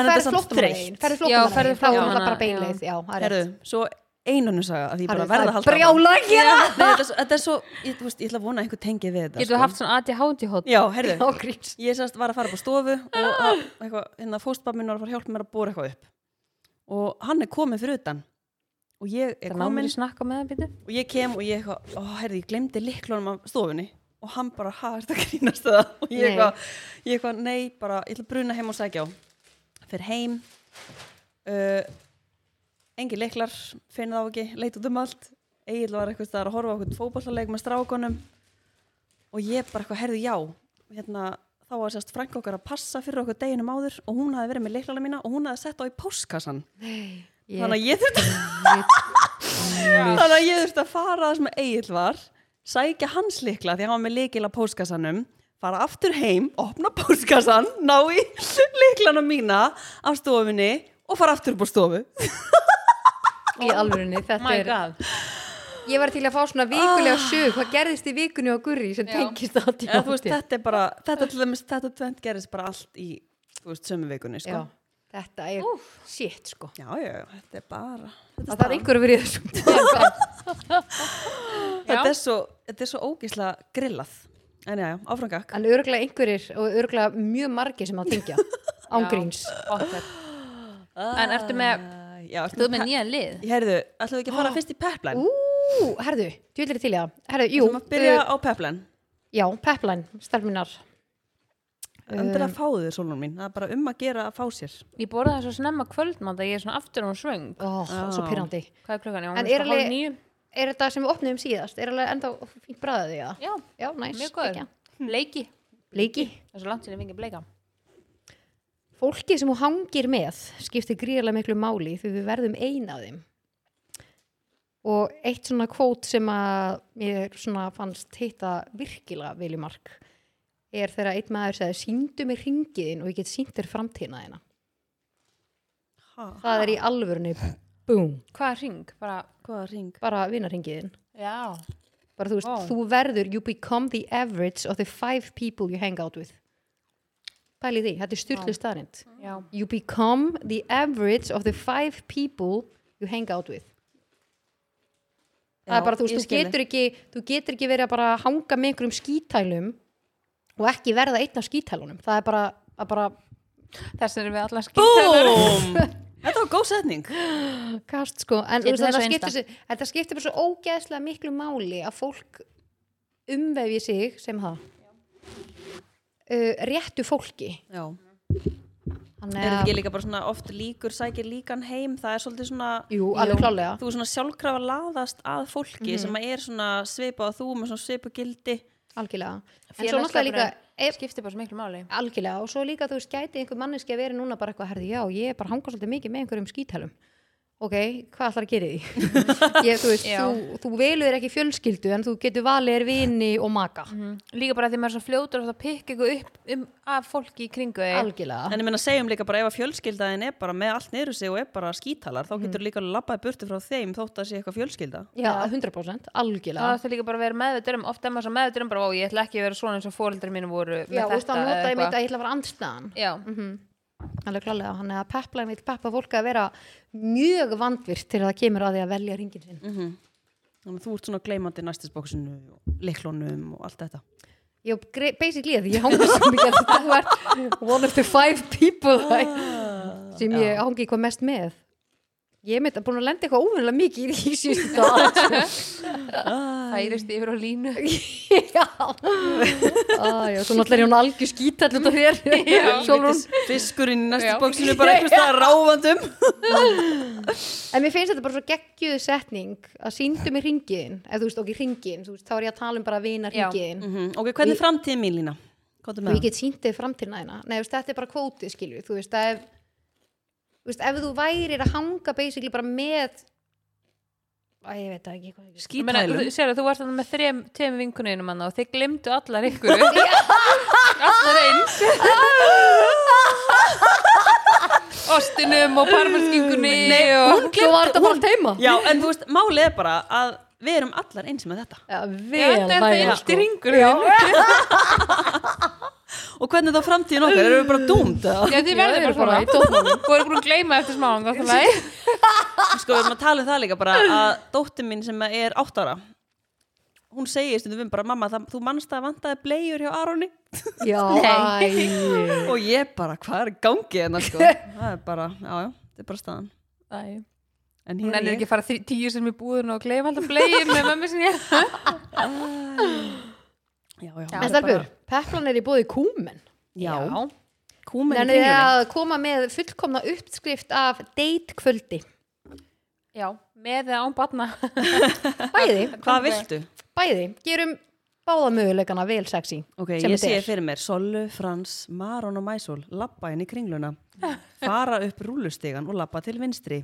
En þú þetta er ferð samt flottum þreytt. Ferð Já, flottum ferðu Þá er flóttamannalegin, það bara já. beinleið Já, það er rétt. Herðu, svo einunum saga að ég bara Herru, verða að það er halda áfram. brjála að gera Nei, þetta, er svo- þetta er svo, ég, þú veist, ég ætla að vona að einhver tengi við þetta sko. Getur haft svona ADHD hótt Já, heyrðu, Já, gríns. ég semst var að fara upp á stofu og að- eitthvað, hérna fóstbað minn var að fara að hjálpa mér að bóra eitthvað upp og hann er kominn fyrir utan og ég er Það náum komin við snakka með það býtu og ég kem og ég eitthvað, ó, heyrðu, ég glemdi liklunum af stofunni og hann bara, ha, er þetta grínast það og ég Nei. eitthvað, ég eitthvað, nei, bara ég ætla að bruna heim og sækja á fyrir heim uh, engin liklar, finn þá ekki leit út um allt, Egil var eitthvað staðar að horfa okkur fótballaleik með strákunum og ég bara eitthvað, heyrðu, já hérna, þá var sérst frænka okkar að passa fyrir okkur deginum áður og hún hafði verið með liklana mína og hún hafði sett á í póskassan þannig að ég þurfti Þannig að ég þurfti að fara það sem Egil var, sækja hans likla því að hann var með likil að póskassanum, fara aftur heim, opna póskassan, ná í liklana mína af stofunni og fara aftur upp á stofu. í alvörunni þetta My er god ég var til að fá svona vikulega sög hvað gerðist í vikunni á gurri sem tengist að Ah. Eða, þú veist, þetta er bara, þetta til dæmis, þetta tvent gerist bara allt í, þú veist, sömu vikunni, sko. Já, þetta er shit sko Já, já, já, þetta er bara, þetta að er, það er einhver að vera í þessu þetta er svo, þetta er svo ógísla grillað. En já, já, áframgak. en örgulega einhverjir og örgulega mjög margir sem að tengja ángríns En ertu með, Ah, já, ertu þú ert með nýja lið Ég heyrðu, ætlum við ekki að fara fyrst í peplæn? ú, herðu, djúlir til í það herðu, jú, Þú maður byrja uh, á peplæn. já, peplæn, stelminar Endur að fá þér, Solon mín. Það er bara um að gera að fá sér. Ég borða það svo snemma kvöldmátt að ég er svona aftur hún svöng ó, svo pyrrandi Hvað er klukkan? Ég var En næstu er alveg- hálf nýju er þetta sem við opnum síðast, er alveg enda fínt bræðið í það Já, já, næs, mjög góð geggjað. Bleiki Leiki Það er svo langt sér ég fengið bleika Fólki sem þú hangir með skiptir gríðarlega miklu máli því við verðum ein af þeim. Og eitt svona kvót sem að mér svona fannst heita virkilega vilji mark er þegar einn maður segði síndu mér ringiðin og ég get sínt þér framtíðna þeina. Ha, Það er í alvörunni, búm, Hvað ring? Bara, hvaða ring? bara vinaringiðin. já Bara þú veist, Vá. þú verður, you become the average of the five people you hang out with. Pæli því, þetta er styrlu staðrind. Já, you become the average of the five people you hang out with það Já, er bara, þú veist, ég þú skil getur ekki þú getur ekki verið að bara hanga með einhverjum skítælum og ekki verða einn af skítælunum það er bara, að bara þess erum við allar um um skýrtöður Búm! Þetta var góð setning. kast sko en þú Getur veist, það þetta svo skiptir, einstakt? sig- þetta skiptir bara svo ógeðslega miklu máli að fólk umvefi sig sem það uh, réttu fólki Já. Er Þannig þetta að- ekki líka bara svona oft líkur sækir líkan heim? Það er svolítið svona, jú, alveg klálega þú er svona sjálfkrafa laðast að fólki sem að er svona svipað á þú með svona svipu gildi. algjörlega en svo náttúrulega líka ef, Skiptir bara svo miklu máli algjörlega og svo líka þú veist gæti einhver manneski að vera núna bara eitthvað herði já, ég er bara að hanga svolítið mikið með einhverjum skítælum ok, hvað ætlar að gera í því ég, þú veist, Já. þú, þú velur þér ekki fjölskyldu en þú getur valið er vini og maka Mm. Líka bara því maður er svo fljótur og það pikka ykkur upp um, af fólki í kringu þig algjörlega, En ég meina segjum líka bara ef að fjölskyldaðin er bara með allt niður sig og er bara skítalar, þá getur líka alveg labbaði burti frá þeim þótt að sé eitthvað fjölskylda. já, 100% Það algjörlega þarf líka bara að vera meðvitað um, ofta er maður svo meðvitað um bara, ó, ég ætla ekki að vera svona eins og fóreldrar mínu voru með já, þú veist þetta eða að nota ég eitthvað. mitt að ég ætla að Mhm. vera andstæðan Já, alveg klálega, hann er að pepla mitt peppa fólk að vera mjög vandvirt til það kemur að því að velja ringin sinn Þannig að þú ert svona gleymandi næstisbóksinu og liklunum og allt þetta. Já, gre- basically að því ég hangi svo mikið að þetta var one of the five people Ah. I- sem ég hangi hvað mest með ég er mitt að búin að lenda eitthvað óvinnilega mikið í því síðustu dag sko. færist yfir á línu já ah, já, svo náttúrulega er hún algjör skít alltaf þér Sólrún. Helvítis Fiskurinn í Já. næstisbóksinu bara einhvers staðar ráfandum. en mér finnst þetta bara svo geggjuð setning að síndu mig ringiðin ef þú veist okkur ringiðin, þú veist, þá er ég að tala um bara vina Já. ringiðin Mm Ok, hvernig er framtíðin mín lína? Kóttu og með ég get sínt þig framtíðna þína Nei, þú veist, þetta er bara kvótið skilju þú veist, að ef, þú veist, ef þú værir að hanga basically bara með að ég veit það ekki hvað ég- Ég meina, skítælum. þú- Sérðu, þú varst þarna með þrem, tveim vinkuninum hann og þið glimtu allar ykkur Allar eins Ostinum og parmarskingunni Nei, og... svo var þetta bara allt heima Já, en þú veist, málið er bara að við erum allar eins með þetta ja, sko- Já, vel sko. þetta er það væri, illt í sko. ringur Já, og og hvernig þá framtíðin okkar, erum við bara dúmt eða? Já, þið verður bara svona. Þú eru búin að gleyma eftir smá en gott að læg. sko, við erum að tala um það líka bara að dóttir mín sem er 8 ára hún segir stundum við bara mamma, það, þú manst að vantaði bleiur hjá Aroni Já, Nei. æ. og ég bara, hvað er í gangi hérna sko það er bara, já, já, þetta er bara staðan en Hún hér er ennir ég ekki að fara þrí- tíu sem í búðun og gleyma alltaf blegin með mömmu sinni. já, já, En stelpur, peplan er í bóði kúmen. já, Já. kúmin í Þannig er kringlunni. að koma með fullkomna uppskrift af date kvöldi. Já, með eða án batna. Bæði, hvað viltu? bæði, gerum báða möguleikana vel sexy. Ok, sem ég þetta sé er. fyrir mér Sollu, Frans, Maron og Mæsól lappa inn í kringluna, fara upp rúlustigan og lappa til vinstri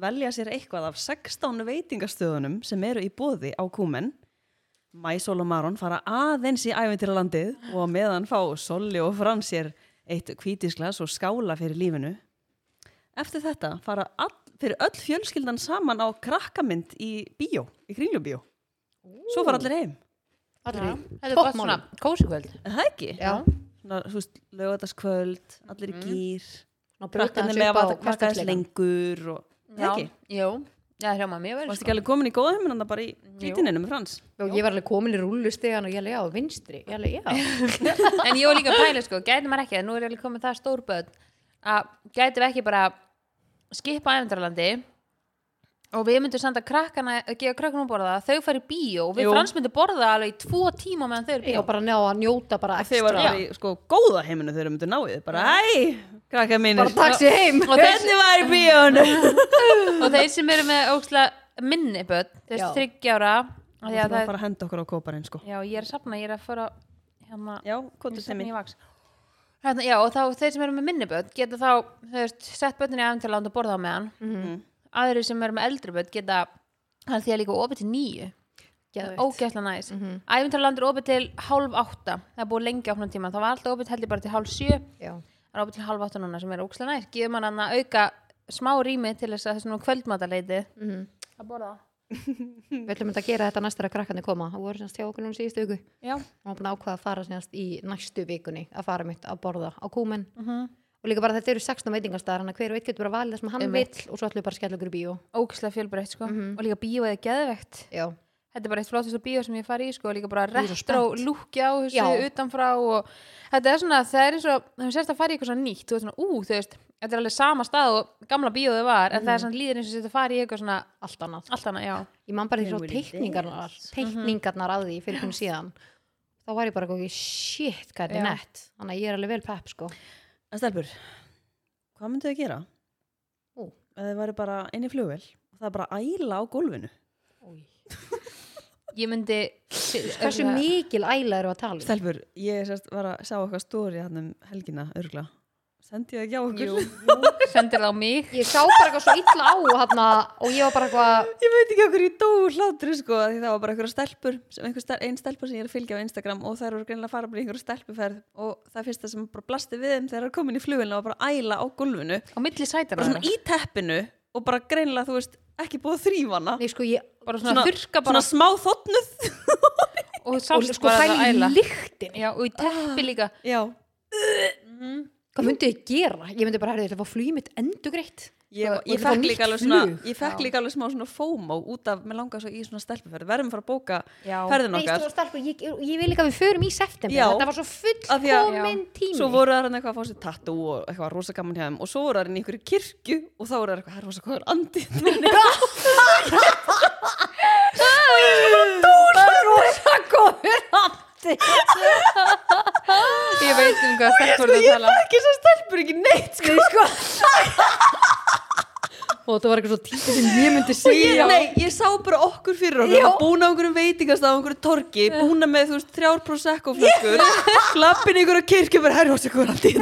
velja sér eitthvað af 16 veitingastöðunum sem eru í bóði á kúmen Mæsól og Maron fara aðeins í æventýralandið og á meðan fá Solli og Frans sér eitt hvítisglas og skála fyrir lífinu Eftir þetta fara all, fyrir öll fjölskyldan saman á krakkamynd í bíó, í kringlubíó Svo fara allir heim Allri, toppmálum. Kósikvöld. Er Það ekki? Já, svona, þú veist, lögataskvöld, allir í gýr, og brjóta krakkarnir hans með að upp á kvaka þess hverstagsleikann. lengur og, það ekki? Jú, já, hljóma mér verður. Varst ekki alveg komin í góða heiminanda bara í grítininu með Frans? Og ég var alveg komin í rúllustegan og ég alveg, já, vinstri, ég alveg, já. en ég var líka að pæla sko, gæti maður ekki að nú er alveg komið það stórböð að gæti við ekki bara skipa ævendralandi og við myndum senda krakkana að gefa krakkana að borða þau fari í bíó og við Jú. frans myndum borða alveg í tvo tíma meðan þau eru í Já, bíó bara ná að njóta bara Þeir var ekstra. bara í sko góða heiminu þegar þeir myndu náið, bara æ, krakka mínir, Bara taxi heim. og þeir, hvernig var í bíónu? og þeir sem eru með óksla minni börn, þeir Já. sem þryggjára Það já, er að það, fara að henda okkur á kóparinn sko. já, ég er að safna, ég er að fara hérna, Já, kontur til Sem mín. í vaks. Hérna, já, og þá þeir sem eru með minniböld geta þá, þú veist, sett bötnin í aðeintaland og borða á meðan. Mm Aðrir sem eru með eldri böt geta, hann því að líka opið til nýju. Geðveikt. Ógæsla næs. Mm -hmm. er opið til hálf átta. Það er búið lengi opnum tíma. Það var alltaf opið heldur bara til hálf sjö. Já. Það er opið til hálf átta núna sem er ógæsla næs. Gifum hann að auka smá rými til þess að þessum kvöldmataleiti. Mhm. Að borða. Við ætlum að gera þetta næstur að krakkarnir koma. Það voru semst hjá okkur núna síðustu viku. Já. og búin að ákvaða að fara síðast í næstu vikunni að fara mitt að borða á kúmen Mhm. og líka bara þetta eru 16 veitingastæðar hann að hver og eitt getur bara valið það sem hann Einmitt. vill og svo ætlum við bara að skella okkur í bíó Ógæsla fjölbreytt, sko. Mhm. Og líka bíó eða geðvegt. já, þetta er bara eitt flottasta bíó sem ég fari í sko, líka bara er svo retro lúkja á þessu Já. utanfrá og þetta er svona, það er eins og þú sérst að fara í eitthvað svona nýtt, þú veist svona, ú, þú veist þetta er alveg sama stað og gamla bíóðu var en það Mhm. er svona líður eins og þetta fari í eitthvað svona allt annað allt annað, já, ég man bara því Here svo we teikningarnar dance. Mhm. teikningarnar að því fyrir hún síðan þá var ég bara ekki shit hvað þetta Já. er nett þannig að ég er alveg vel pepp sko En stelpur, hvað myndu þau gera? Ú. Ef þau væri bara inn í flugvel og það er bara æla á gólfinu. ég myndi hversu mikil æla eru að tala um? Stelpur, ég sérst, var að sjá okkar stóri hann um helgina, örgla. Sendi ég það ekki á okkur? sendir það á mig ég sá bara eitthvað svo illa á hana, og ég var bara eitthvað Ég veit ekki okkur ég dó úr hlátri sko af því það var bara einhverja stelpur sem einhver stel, ein stelpa sem ég er að fylgja á Instagram og þær eru greinlega að fara bara í einhverja stelpuferð og það fyrsta sem bara blasti við þeim þegar það er komin í flugilna og bara að æla á gulvinu á milli sko. sætana bara svona í teppinu og bara greinlega þú veist ekki búið að þrýfa hana nei sko ég bara svona þurrka bara svona smá þotnuð og og sást sko bara það það æla í lyktin já, og í teppi líka Já, hvað myndi ég gera? Ég myndi bara, herrið, ég ætla að fá flugið mitt endugreitt ég, Sko, ég þetta var fekk nýtt líka alveg svona flug. ég fekk líka alveg smá svona FOMO út af, mér langar svo í svona stelpuferð verðum að fara að bóka Já. ferðin Nei, okkar stóra stelpa, ég, ég vil líka að við förum í september sko. Já. Þetta var svo Af því að- fullkomin tími Svo voru það hann eitthvað að fá sér tattu og eitthvað rosa gaman hjá þeim og svo voru það hann í einhverju kirkju og þá voru það eitthvað, það er rosa góður andi rosa góður hafti Ah. ég veit um hvað stelpur það tala sko, ekki svo stelpur ekki neitt sko. Og þetta var eitthvað svo tími sem ég myndi og ég, segja nei, ég sá bara okkur fyrir okkur Já. búna á einhverjum veitingast á einhverju torki búna með þú veist þrjár prosecco flöskur klappin einhverju kirkju bara herri hósi góður andi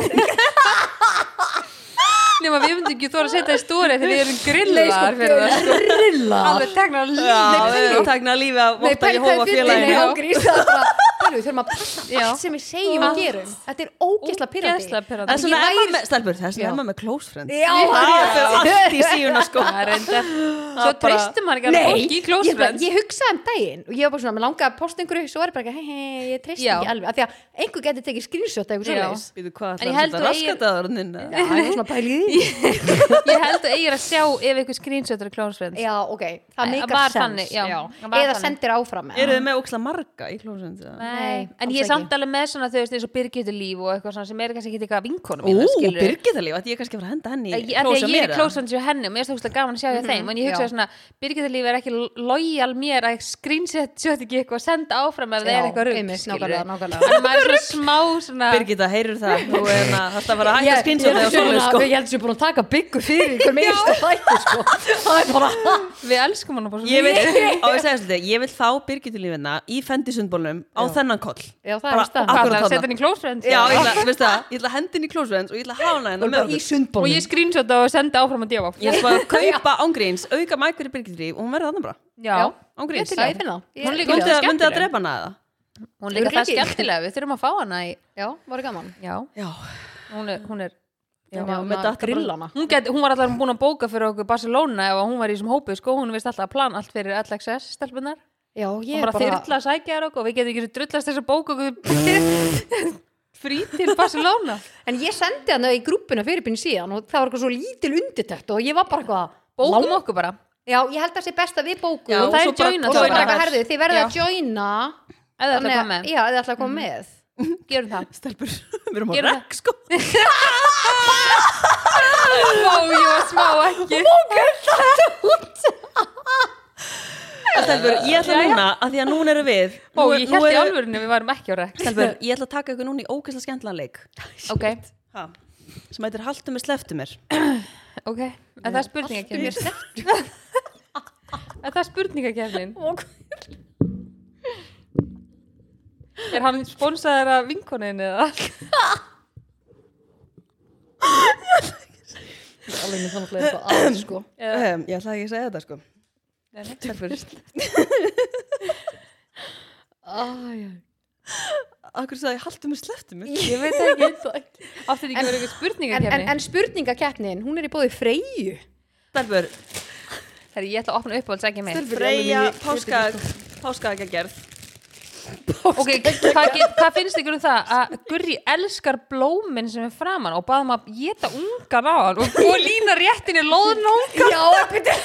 nema við myndum ekki þóra að setja í stóri þegar við erum Nei, sko, grillar fyrir það ég er Grilla alveg tegna líf já, við erum að takna lífi að Nei, votta pæli ég hófa fyndið, félaginu nei, án gríns, það er bara- tala, við þurfum að passa Já. allt sem við segjum og Allt. gerum þetta er ógeðsla Ógeðslega pyrrandi pirrandi. Það er svona Ég emma væri- með, stelpur, það er svona Já. emma með close friends. Já, það fyrir allt í síðuna sko. Það er reyndar. Svo bara- treystum maður ekki að fólki í Ah, ég, close bara, friends. ég hugsaði um daginn og ég var bara svona, mér langaði að posta einhverju svo er ég bara ekki, hei, hei, ég treyst Já. ekki alveg af því að einhver getur tekið skrýnsjóta eitthvað Já. svoleiðis Býtu hvað En ég ætlar held þetta þú eigin- raskataðurinn? Já, ég var svona pæliði Ég held að eigir að sjá ef eitthvað screenshot er close friends. Já, ok, það Æ, meikar var sens þannig, já, það var eða þannig. sendir áfram eða. Eru þið með óksla marga í close friends? eða? Nei, en Nei, alls ég er ekki. samt alveg með svona þau veist eins og Birgitur líf og eitthvað svona sem er kannski ekki eitthvað vinkonum Ú, mínar, skilurðu. Birgitalíf, ætti ég kannski að fara að henda henni Ég- í af því close að að ég mér? er í eða? close friends hjá henni og mér er stókslega gaman að sjá hjá þeim en ég hugsaði Mhm, já. svona, Birgitur líf er ekki lojal mér að screenshot sjótt ekki eitthvað að senda áfram ef það Já, er eitthvað rugg einmitt, skilurðu. nákvæmlega, nákvæmlega. en maður er svona smá svona Birgitta, heyrur það? Þú er hérna, þetta var að hætta Ég- ég held skynsjóðið að og sé búin svona, að- sko. Ég held sem búin að taka byggu fyrir ykkur með einstu þætti sko. Það er bara við elskum hana bara svo Ég vil, mikið. á ég segja svolítið, ég vil fá Birgitta lífinna í fendisundbólnum á þennan koll. Já, það er Bara víst það. Hvað, akkurat það setja þarna. henni í close friends Já, ég ætla, veistu það, ég ætla að hendi henni í close friends og ég ætla að hána henni með Í okkur. og sundbólum ég screenshot og senda áfram að djáfa Ég ætla bara að kaupa ángríns, auka mækur í Birgitta líf og hún verður þannig bara. já, Ángríns. Það ég finn það Ég- Hún líka- Myndi Hún er það myndi það skemmtileg. drepa hana eða? hún er líka það Örugglega ekki. skemmtilega við þurfum að fá hana í Já, var gaman já, Já. hún er, hún er Já, Já, með með þetta datta bara- grillana Hún, get, hún var alltaf búin að bóka fyrir okkur Barcelona ef hún var í þessum hópi, sko, hún vist alltaf að plana allt fyrir LXS stelpunar Já, hún ég bara þyrla að sækja þér okkur og við getum ekki svo drullast þess að bóka okkur frí til Barcelona En ég sendi hana í grúppuna fyrir byrni síðan og það var eitthvað svo lítil undirtækt og ég var bara eitthvað bókum Lá- okkur bara Já, ég held að það sé best að við bókum Já, og og það er svo bara- joina og og svo svo bara bara- eitthvað herðu þið verða Já. að joina eða ætla að koma Þannig að- Mm. með, Já, þið ætla að koma með gerum það Stelpur, við erum á Gerum það. rekk sko. Vá, ég var smá ekki Stelpur, ég ætla núna, að því að núna eru við. Ó, nú- ég nú held í eru- alvörinu við varum ekki á rekk Stelpur, ég ætla að taka ykkur núna í ógeðslega skemmtlan leik. Ok, Ha, sem heitir Haltu mér, sleftu mér. ok, en það er spurningakefnin En það er spurningakefnin Er hann sponsaður af vinkonin eða? Alveg mér þannig að eitthvað aðeins sko Eða- Um, ég ætla ekki að segja þetta sko. Nei, nei. Akkur sagði, haltu mér, sleftu mér. Ég veit það ekki hérna. Átti þetta ekki verið eitthvað En, en, spurningakefni en spurningakeppnin, hún er í bóði freyju Stelpur, Þegar ég ætla að opna upp og segja mig Freyja, páskaðegjargerð. Ok, hvað, get, hvað finnst ykkur um það að Gurri elskar blómin sem er framann og baðum að geta ungan á hann og, og lína réttinni loðn unga Já, byrju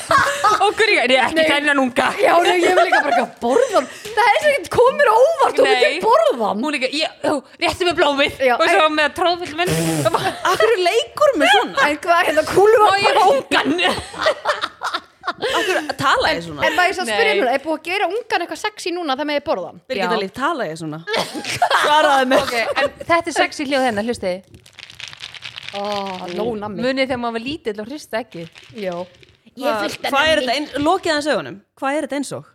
og Gurri, er ég ekki þennan unga Já, nei, ég vil líka bara ekki að borða hann. Það er sem ekki komir á óvart og Nei. ekki borða hann. Hún líka, ég, ó, rétti með blómið Já, og svo með tróðfull menn og Akkur leikur með svona? En hvað er hérna, þetta kúlu að ég er ungan Akkur tala ég svona? En maður er svo að spyrja Nei. núna, er búið að gera ungan eitthvað sexy núna það með ég borða hann? Birgitta Já. Líf, tala ég svona? Svaraði mér. Ok, en þetta er sexy hljóð hérna, hennar, hlusti Ó, lóna mig. Munið þegar maður var lítill og hrista ekki Já. Ég Hvað fyllt hvað er henni. þetta eins og? Lokið hans augunum. Hvað er þetta eins og?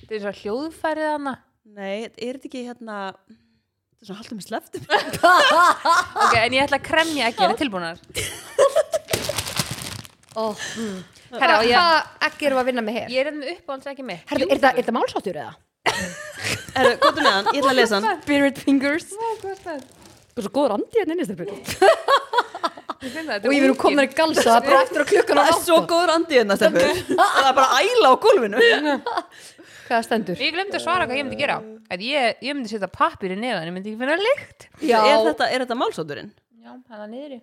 Þetta er svo hljóðfærið hana Nei, er þetta ekki hérna... Þetta er svona haldu mér, sleftu mér. Ok, en ég ætla að kremja ekki, er það tilbúnar? Ó, mm. Herra, og Hvað ég- hvað ekki erum við að vinna með hér? Ég er enn uppáhalds ekki mitt Herðu, er það- er það málsáttur eða? Herru, komdu með hann, ég ætla að lesa hann. Spirit fingers. Ég Þú er svo góður andi hérna inni, stelpur. finn það, þetta er Og ég verið unginn. komin að galsa það er bara eftir að klukkan á Það er svo átta. góður andið hérna, stelpur. Það er bara æla á gólfinu. Hvað stendur? Ég glemdi að svara hvað ég myndi gera að ég, ég myndi setja pappir í neðan ég myndi ekki finna lykt Já. Er þetta, er þetta málsótturinn? Já, hann er niður í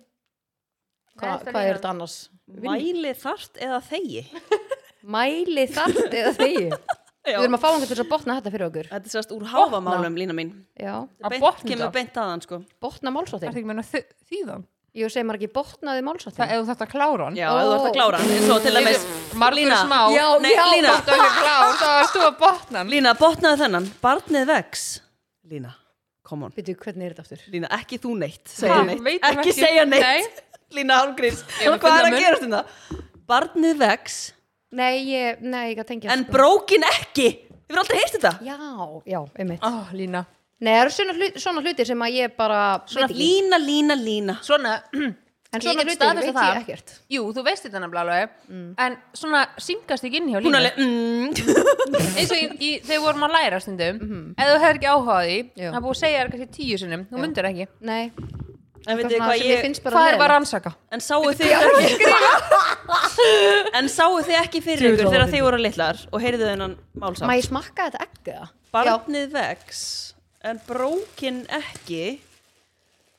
Hva- Neðsta Hvað er línan. þetta annars? Mæli þart eða þegi? Mæli þart eða þegi. Já. Við erum að fá einhvern til að botna þetta fyrir okkur. Þetta er sérst úr háfamálum, lína mín. Já, Að Beint, botna kemur þetta? beint aðan, sko. botna Það er málsáttin. ekki meina þýðan Ég segi maður ekki botnaði málsáttin. Það ef þú þetta klára hann Já, þú ert að klára hann. Svo til dæmis, Margur Lína. smá Já, Nei, já, Lína Þú ert klár Það varst þú að botna hann Lína, botnaðu þennan. Barnið vex. Lína, come on. Býtu, hvernig er þetta aftur? Lína, ekki þú neitt. Segja Ha, neitt. veit hann Ekki ekki- segja neitt. Nei. Lína Hálgríns, Ég er með hvað er fulla að munn. gerast þetta? Barnið vex, Nei, ég, nei, ég gæti tengja en brókin ekki. Ég verð aldrei heist þetta. Já, já, einmitt. Ó, Lína Nei, það eru svona, hlut, svona hlutir sem að ég bara Svona veit ekki. lína, lína, lína. Svona en Ég svona get hluti staðfest veit það. ég ekkert Jú, þú veist þetta nefnilega alveg en svona syngast ekki inn hjá Hún línu alveg, mm, eins og í, í, þegar vorum að læra stundum ef þú hefur ekki áhuga á því Mhm. Já. það er búið að segja þér kannski tíu sinnum, þú myndir ekki nei, en það veitir svona hvað sem ég, finnst bara hvað er bara leiðinlegt. rannsaka? en sáu þið ekki, en sáu þið ekki fyrir ykkur þegar þið voru litlar og heyrðu þennan má málsátt. ég smakka þetta ekki það? Barnið vex, en brókin ekki,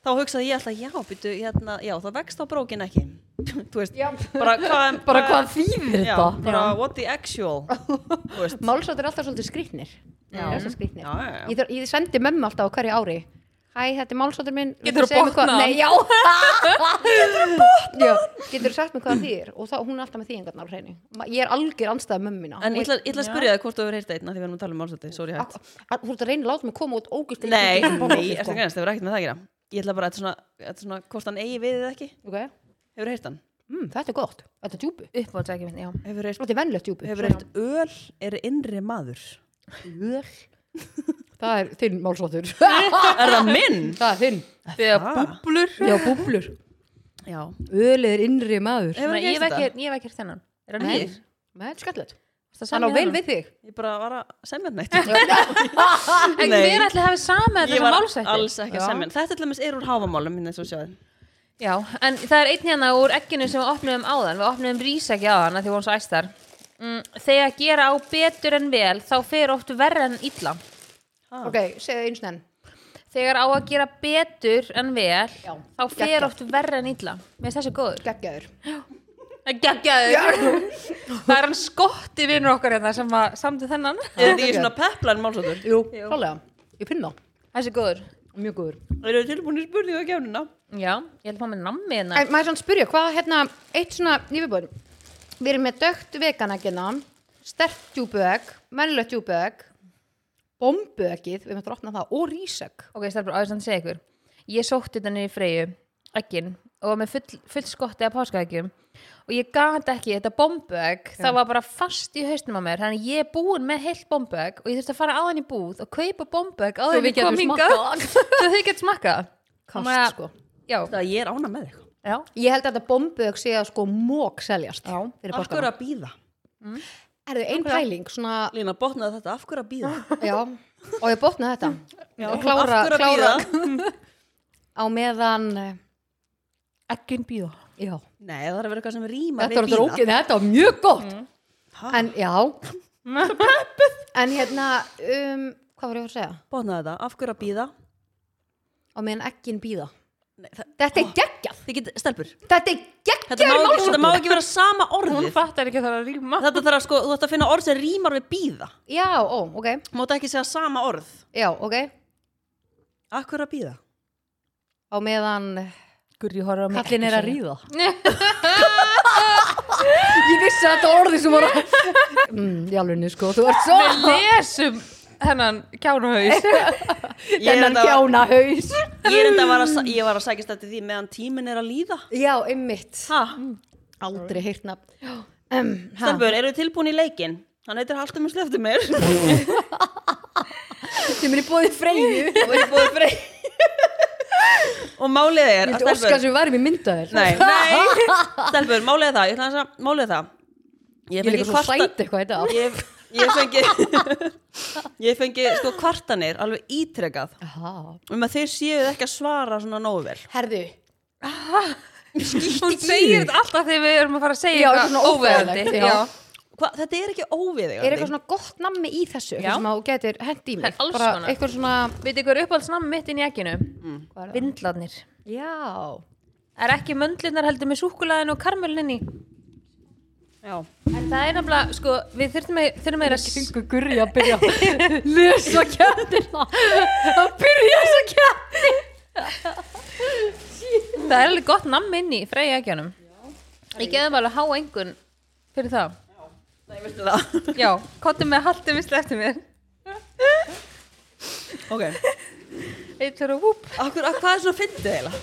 þá hugsaði ég alltaf, já, býtu, hérna, já, það vex þá brókin ekki. Þú veist, Já. bara hvað, bara hvað þýðir já, þetta bara what the actual, þú veist. Málsótt er alltaf svolítið skrýtnir. Já. Alltaf skrýtnir. Já, já, já. Ég, þarf- ég sendi mömmu alltaf á hverju ári. Hæ, þetta er málsóttur minn. Geturðu viltu segja mér hvað- botnað hann? Nei, já. Getur þú botnað? Getur þú sagt mér hvað það þýðir? Og þá, hún er alltaf með þýðingarna á hreinu. Ma- Ég er algjör anstæð mömmina. En ég ætla ég ætla að spyrja það hvort þú hefur heyrt einna því við erum að tala um málsætti, sorry hægt. Þú ert að reyna að láta mig koma út ógust Nei, nei, eftir sko. að grænast, það verður ekkert með það að gera. Ég ætla bara að þetta er svona, þetta er svona hvort hann eigi við eða ekki. okay. Hefur heyrt hann? mm, Þetta er gott, þetta er djúbu uppbótsækjum minn, já Hefur heyrt, Þetta er vennlegt djúbu hefur heyrt öl er innri maður? Það er þinn málsóttur Er það minn? Það er þinn þegar Ah. búblur Já, búblur Já. Ölið er innri maður Hefur Nei, ekki ég hef heyrt þetta? ekki- ég hef ekki hér þennan er hann Nei. nýr? Nei, þetta er skallett Varstu að Hann á semja vel þennan? við þig Ég bara var að semja hann eitt. en Nei. hver ætli hafi sama þetta Ég sem var málsætti? alls ekki að Já. semja hann. Þetta til dæmis er úr háfamálum minni svo sjáði. Já, en það er einn hérna úr egginu sem við opnum áðan, við opnum rísækja áðan af því hún svo æstar mm, þegar gera á betur en vel þá fer oft verra en illa Ah. Ok, segðu eins og enn þegar á að gera betur en vel Já. þá fer Geggjað. oft verra en illa mér finnst þessi góður Geggjaður Geggjaður. það er hann skotti vinnur okkar hérna sem að samtu þennan Er þetta ekki svona peplan málsóttur? Jú, klálega Ég finn það þessi góður Mjög góður Eru þið tilbúin í spurningu á gefnina? Já, ég held að fá með nammi hérna En maður er svona að spyrja, hvað hérna Eitt svona, ég við búin Við erum með dögt veganækina Stert djúbuegg, mennlegt djúbuegg Bombueggið, við möttum að opna það Og rísegg Ok, stelpur, áður sem að segja ykkur Ég sótti þetta niður í freyju, ekkin og var með full, full skotti af páskaeggjum og ég gat ekki þetta bombuegg það var bara fast í haustum á mér þannig að ég er búin með heilt bombuegg og ég þurfti að fara aðan í búð og kaupa bombuegg áður en við ég kom getum hingað. smakkað. svo þau getur smakka Kast, sko. Já, Það ég er ána með þig. já, Ég held að þetta bombuegg sé að sko mók seljast Já, fyrir Af hverju borgarna að býða? Er þau ein pæling, svona Lína, botnaði þetta, af hverju að býða? Já, og ég botna þetta Já, Og klára, af hverju að klára bíða? á meðan eh, ekkin býða Já, Nei, það er að vera eitthvað sem rýma þetta var drókið, þetta var mjög gott Ha? En já En hérna, um, hvað var ég að fara að segja? Botnaði þetta, af hverju að býða? Á meðan ekkin býða Nei, það- Þetta er geggjað, Þið get, stelpur, þetta er þetta má, geggjað ekki, þetta má málsókn ekki vera sama Hún orðið fattar ekki að það er að rýma Þetta þarf að sko, þú ætti að finna orð sem rýmar við býða Já, ó, ok, Máta ekki segja sama orð já, ok Á Af hverju að býða? meðan eh, Gurri horfa á mig Kallinn er að ekki ríða Ég vissi að þetta var orðið sem var að mm, Í alvegni sko, þú ert svo segja. Við lesum hennan kjánuhaus Ég er Þennan enda- kjána haus ég er enda að var að, sa- ég var að sækjast eftir því meðan tíminn er að líða Já, einmitt ha, Aldrei heyrt nafn um, ha. Stelpur, eru tilbúin í leikinn? Hann heitir Halltumur Sleftumir sem er í bóði freyju og ég búið frey Og málið er að Þetta óskar stelpur sem við varum í myndaðir Nei, nei, stelpur, málið er það Ég ætla aðeins að, málið er það Ég er líka svo sæt eitthvað hérna. þetta ég, ég fengi ég fengi sko kvartanir alveg ítrekað Aha. um að þeir séu ekki að svara svona nógu vel Herðu Hún segir þetta alltaf þegar við erum að fara að segja Já, eitthvað svona óþægilegt, óviðeigandi. já. Já. Hva, þetta er ekki óvið Er eitthvað svona gott nammi í þessu Já. eitthvað sem þú getur hent í mig Það er alls Bara konar. eitthvað svona Veitu ykkur uppáhaldsnamn mitt inn í ekkinu? Mm. Hvað er það? Vindlarnir. Já Það er ekki möndlunar heldur með súkulæðin og karmelinni. Já. En það er nefnilega, sko, við þurfum að, þurfum að, að Gengur gurri að byrja að Lesa kjændina Að byrja svo kjænd það er alveg gott namn inn í freyja ekkjanum. Ég geðum alveg há engun fyrir það. Nei, veistu það Já, kottum með haldum við sleftum við. Ok, Eitt fyrir að vúp. Akkur, að, hvað er svona fyndið eiginlega?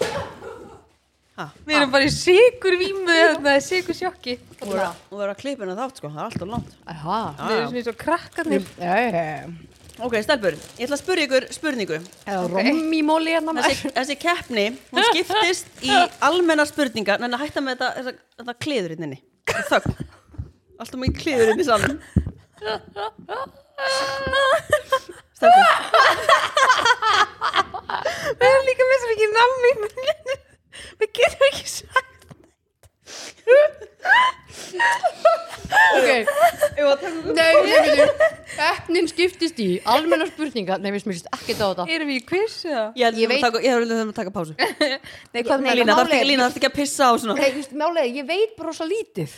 Við erum bara í sigur vímu, þetta er sigur sjokki. Þú verður að klipina þátt sko, það er alltaf langt Aha Við erum svona eins og krakkarnir. Já, já, já. Ok, stelpur, ég ætla að spyrja ykkur spurningu. eða rommímóli hérna maður. Þessi, þessi keppni, hún skiptist í almennar spurningar, en að hætta með þetta, þetta, þetta hérna kliðurinninni. Þögn. Alltaf mjög kliðurinn hérna í salnum. Stelpur, Við erum líka með svo mikið nammi Við getum ekki sagt Ok, ef að taka nei, nei, nei, efnin skiptist í almennar spurningar, nei, við smýrst ekki á þetta Erum við í quiz eða? Ég held Ég að við veit- taka, ég held að við þurfum að taka pásu. Nei, hvað Nei, með Lína, málið þarf er- ekki, Lína, þarf ekki að pissa á svona. Nei, þú veist, málega, ég veit bara rosa lítið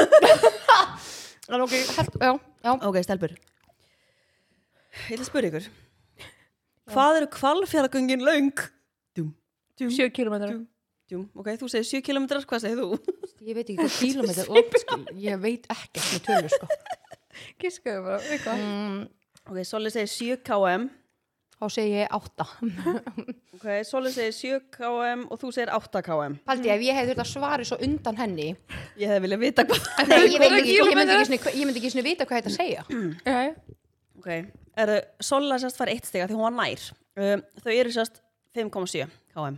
En ok, hætt, já, já Ok, stelpur. Ég ætla að spyrja ykkur. Hvað eru kvalfjarlagöngin löng? Djúm, djúm, 7 kilometrar Djú. djúm. Ok, þú segir 7 km, hvað segir þú? Ég veit ekki hvað kílómetri er langt, skil. Ég veit ekki með tölur, sko Gískaðu bara, eitthvað Mm, Ok, Soli segir 7 km. Þá segi ég átta Ok, Soli segir 7 km og þú segir 8 km. Paldi, ef ég hefði þurft að svara svo undan henni Ég hefði viljað vita hvað Nei, ég, veit Hvað er ekki, ég, myndi kílómetrar? ekki Mm. sinni, ég myndi ekki sinni vita hvað þetta segja Já, Ok, er, Sola sérst fær eitt stiga því hún var nær. Um, þau eru sérst 5,7 km.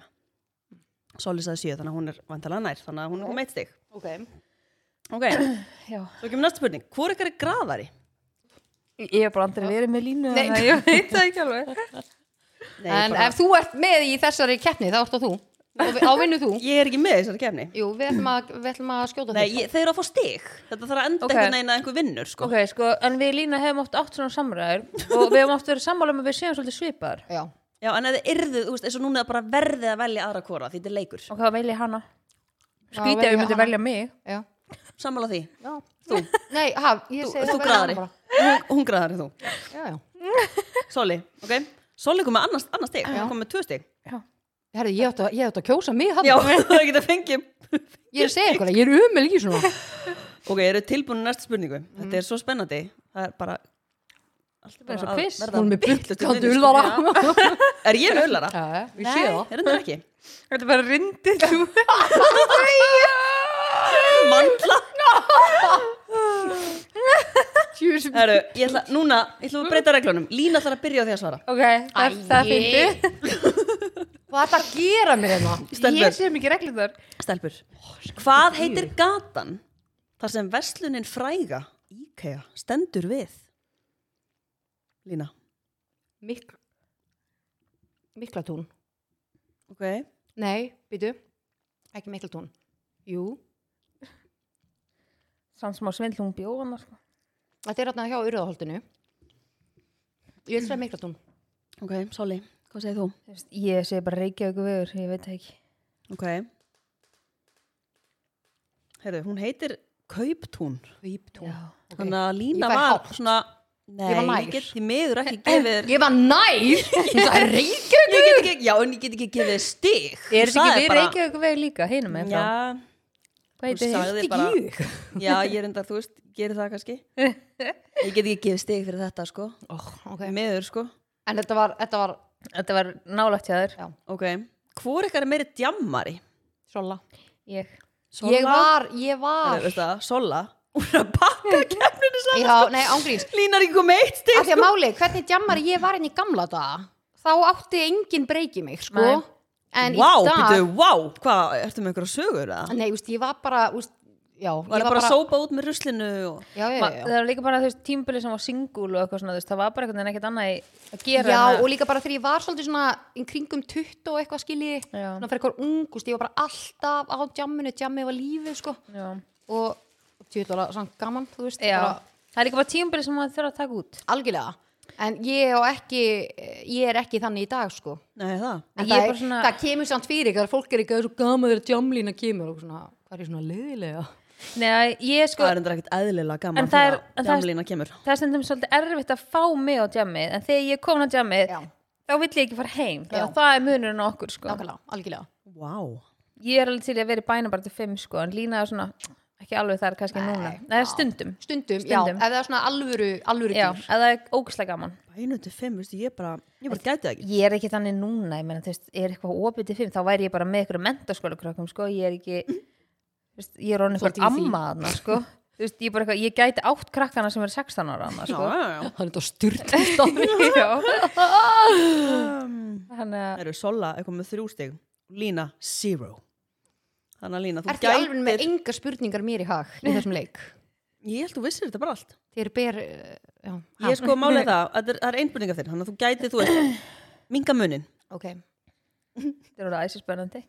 Soli sagði 7 þannig að hún er vantalega nær, þannig að hún er um eitt stig. Ok Ok, já svo kemur næsta spurning. Hvor ykkar er graðari? Ég hef bara aldrei verið með línu Nei. þannig að Ég veit það ekki alveg Nei, En ef þú ert með í þessari keppni, þá ert það þú Og við- ávinnu þú Ég er ekki með í þessari kefni. Jú, við ætlum að, við ætlum að skjóta Nei, þig ég, þeir eru að fá stig. Þetta þarf að enda Ok. einhvern veginn að einhver vinnur, sko. Ok, sko, en við Lína hefum oft átt svona samræður og við hefum oft verið sammála um að við séum svolítið svipaðar Já, Já, en ef þið yrðu, þú veist, eins og núna er bara verðið að velja aðra kora því þetta er leikur. Og hvað velja hana? Skrítið velja að við myndum hana. velja mig já, Sammála því. já Þú Nei, ha, ég Þú segi það verður graðari. bara. Hún, hún graðari þú. Já, já Soli, ok? Soli kom með annars, annars stig, hún kom með tvö stig. Herri, ég átti að, ég átti að kjósa mig hann. Já, það er ekki að fengja. Ég er að segja eitthvað, ég er umil í svona. Ok, eru tilbúinu næstu spurningu? Þetta er svo spennandi. Það er bara... Allt bara eins og að quiz. verða Hún Mhm. er með vitlaust í byllandi vinnunni, sko. ullara. Er ég með ullara? Já, já, ég sé það. Er þetta ekki? Þetta er bara rindið þú Mandla. Tjús. Herru, ég ætla, núna, ég ætla að breyta reglunum. Lína ætlar að byrja á því að svara. Ok, það, það finnst Hvað er það að gera mér hérna? þið Stelpur. Ég sé mikið reglum þar Stelpur. Hvað heitir gatan þar sem verslunin fræga IKEA stendur við? Lína. Mik Miklatún. Ok. Nei, býtu. Ekki Miklatún. Jú. Sann smá svindl hún bjóðan sko. Þetta er hérna hjá Urðaholtinu. Ég vil segja Miklatún. Ok, Soli, hvað segir þú? Þú veist, Ég sé bara reykja ykkur vegur, ég veit það ekki Ok. Herru, hún heitir Kauptún. Kauptún. Ok. Þannig að Ég Lína fær var hálft. svona Nei, Ég var nær. ég get því miður ekki gefið þér- Ég var nær. Það er reykja. Ég get ekki, já, en ég get ekki gefið þér stig Er Þú þetta ekki sagðir við bara- reykja ykkur vegur líka, hinum með frá Já, Hvað þú heitir þið? sagði bara Já, ég er enda, þú veist, gerir það kannski Ég get ekki gefið stig fyrir þetta, sko Ok. Miður, sko En þetta var, þetta var Þetta var nálægt hjá þér Ok, hvor ykkar er meiri djammari? Sola. Ég Sola? Ég var, ég var. Nei, veist það, Sola Hún er að pakka kemninu saman Já, nei, ángríns. Lína er ekki komið eitt stig Af því að máli, hvernig djammar ég var inn í gamla daga, þá átti enginn breyki mig, sko. Nei. En Vá, í dag... býtu, vá, hvað, ertu með ykkur að sögur það? Nei, úst, ég var bara, úst, já, ég Var það bara að sópa út með ruslinu og... Já, já, Ma, já, það var líka bara þú veist tímbili sem var single og eitthvað svona þú veist, það var bara einhvern veginn ekkert annað í- að já. gera Já, en og líka bara þegar ég var svolítið svona í kringum 20 og eitthvað skilji, Já. svona fyrir eitthvað ung, úst, ég var bara alltaf á djamminu, djammi var lífið, sko. að, já. Og tjóðlega, svona gaman, þú veist, Já. bara það er líka bara tímbili sem maður þurfa að taka út algjörlega. En ég, og ekki, ég er ekki þannig í dag, sko. Nei, það En Ég er það, er, bara svona- það kemur samt fyrir ykkur, fólk er ekki svo gaman þegar djamlína kemur og svona, hvað er ég svona leiðilega? Nei, ég sko, Það er enda ekkert eðlilega gaman En það er- þegar en það er- djamlína kemur það er stundum svolítið erfitt að fá mig á jammið en þegar ég kom á jammið Já. þá vill ég ekki fara heim þannig Já. að það er munurinn á okkur sko. Nákvæmlega, algjörlega. Vá wow. ég er alveg til í að vera í bænum bara til fimm sko, en lína er svona ekki alveg þar kannski núna Nei, stundum Stundum, já, Stundum. ef það er svona alvöru, alvöru Já, dýr. að það er ógislega gaman Einu til fimm, veistu, ég bara, ég bara gæti það ekki. Ég er ekki þannig núna, ég meina, þú veist, er eitthvað opið til fimm, þá væri ég bara með ykkur mentaskóla krökkum, sko, ég er ekki, þú veist, ég er orðin Þú ert eitthvað ekki í því. amma þarna, sko, þú þú veist, ég, bara, eitthvað- ég gæti átt krakkana sem er 16 ára annars, Já, sko. já, já. hann er þetta styrtist á Já. Það þannig að eru Sola, eitthvað með þrjú stig Lína, zero Þannig að Lína, þú Er þið alveg með enga spurningar mér í hag í þessum leik? Ég held þú vissir þetta bara allt Þið eru ber, eh, já, Ég er sko málið það, að það er- það er einbyrninga þér Þannig að þú gæti, þú veist, minga munin ok. þetta er orðið æsir spennandi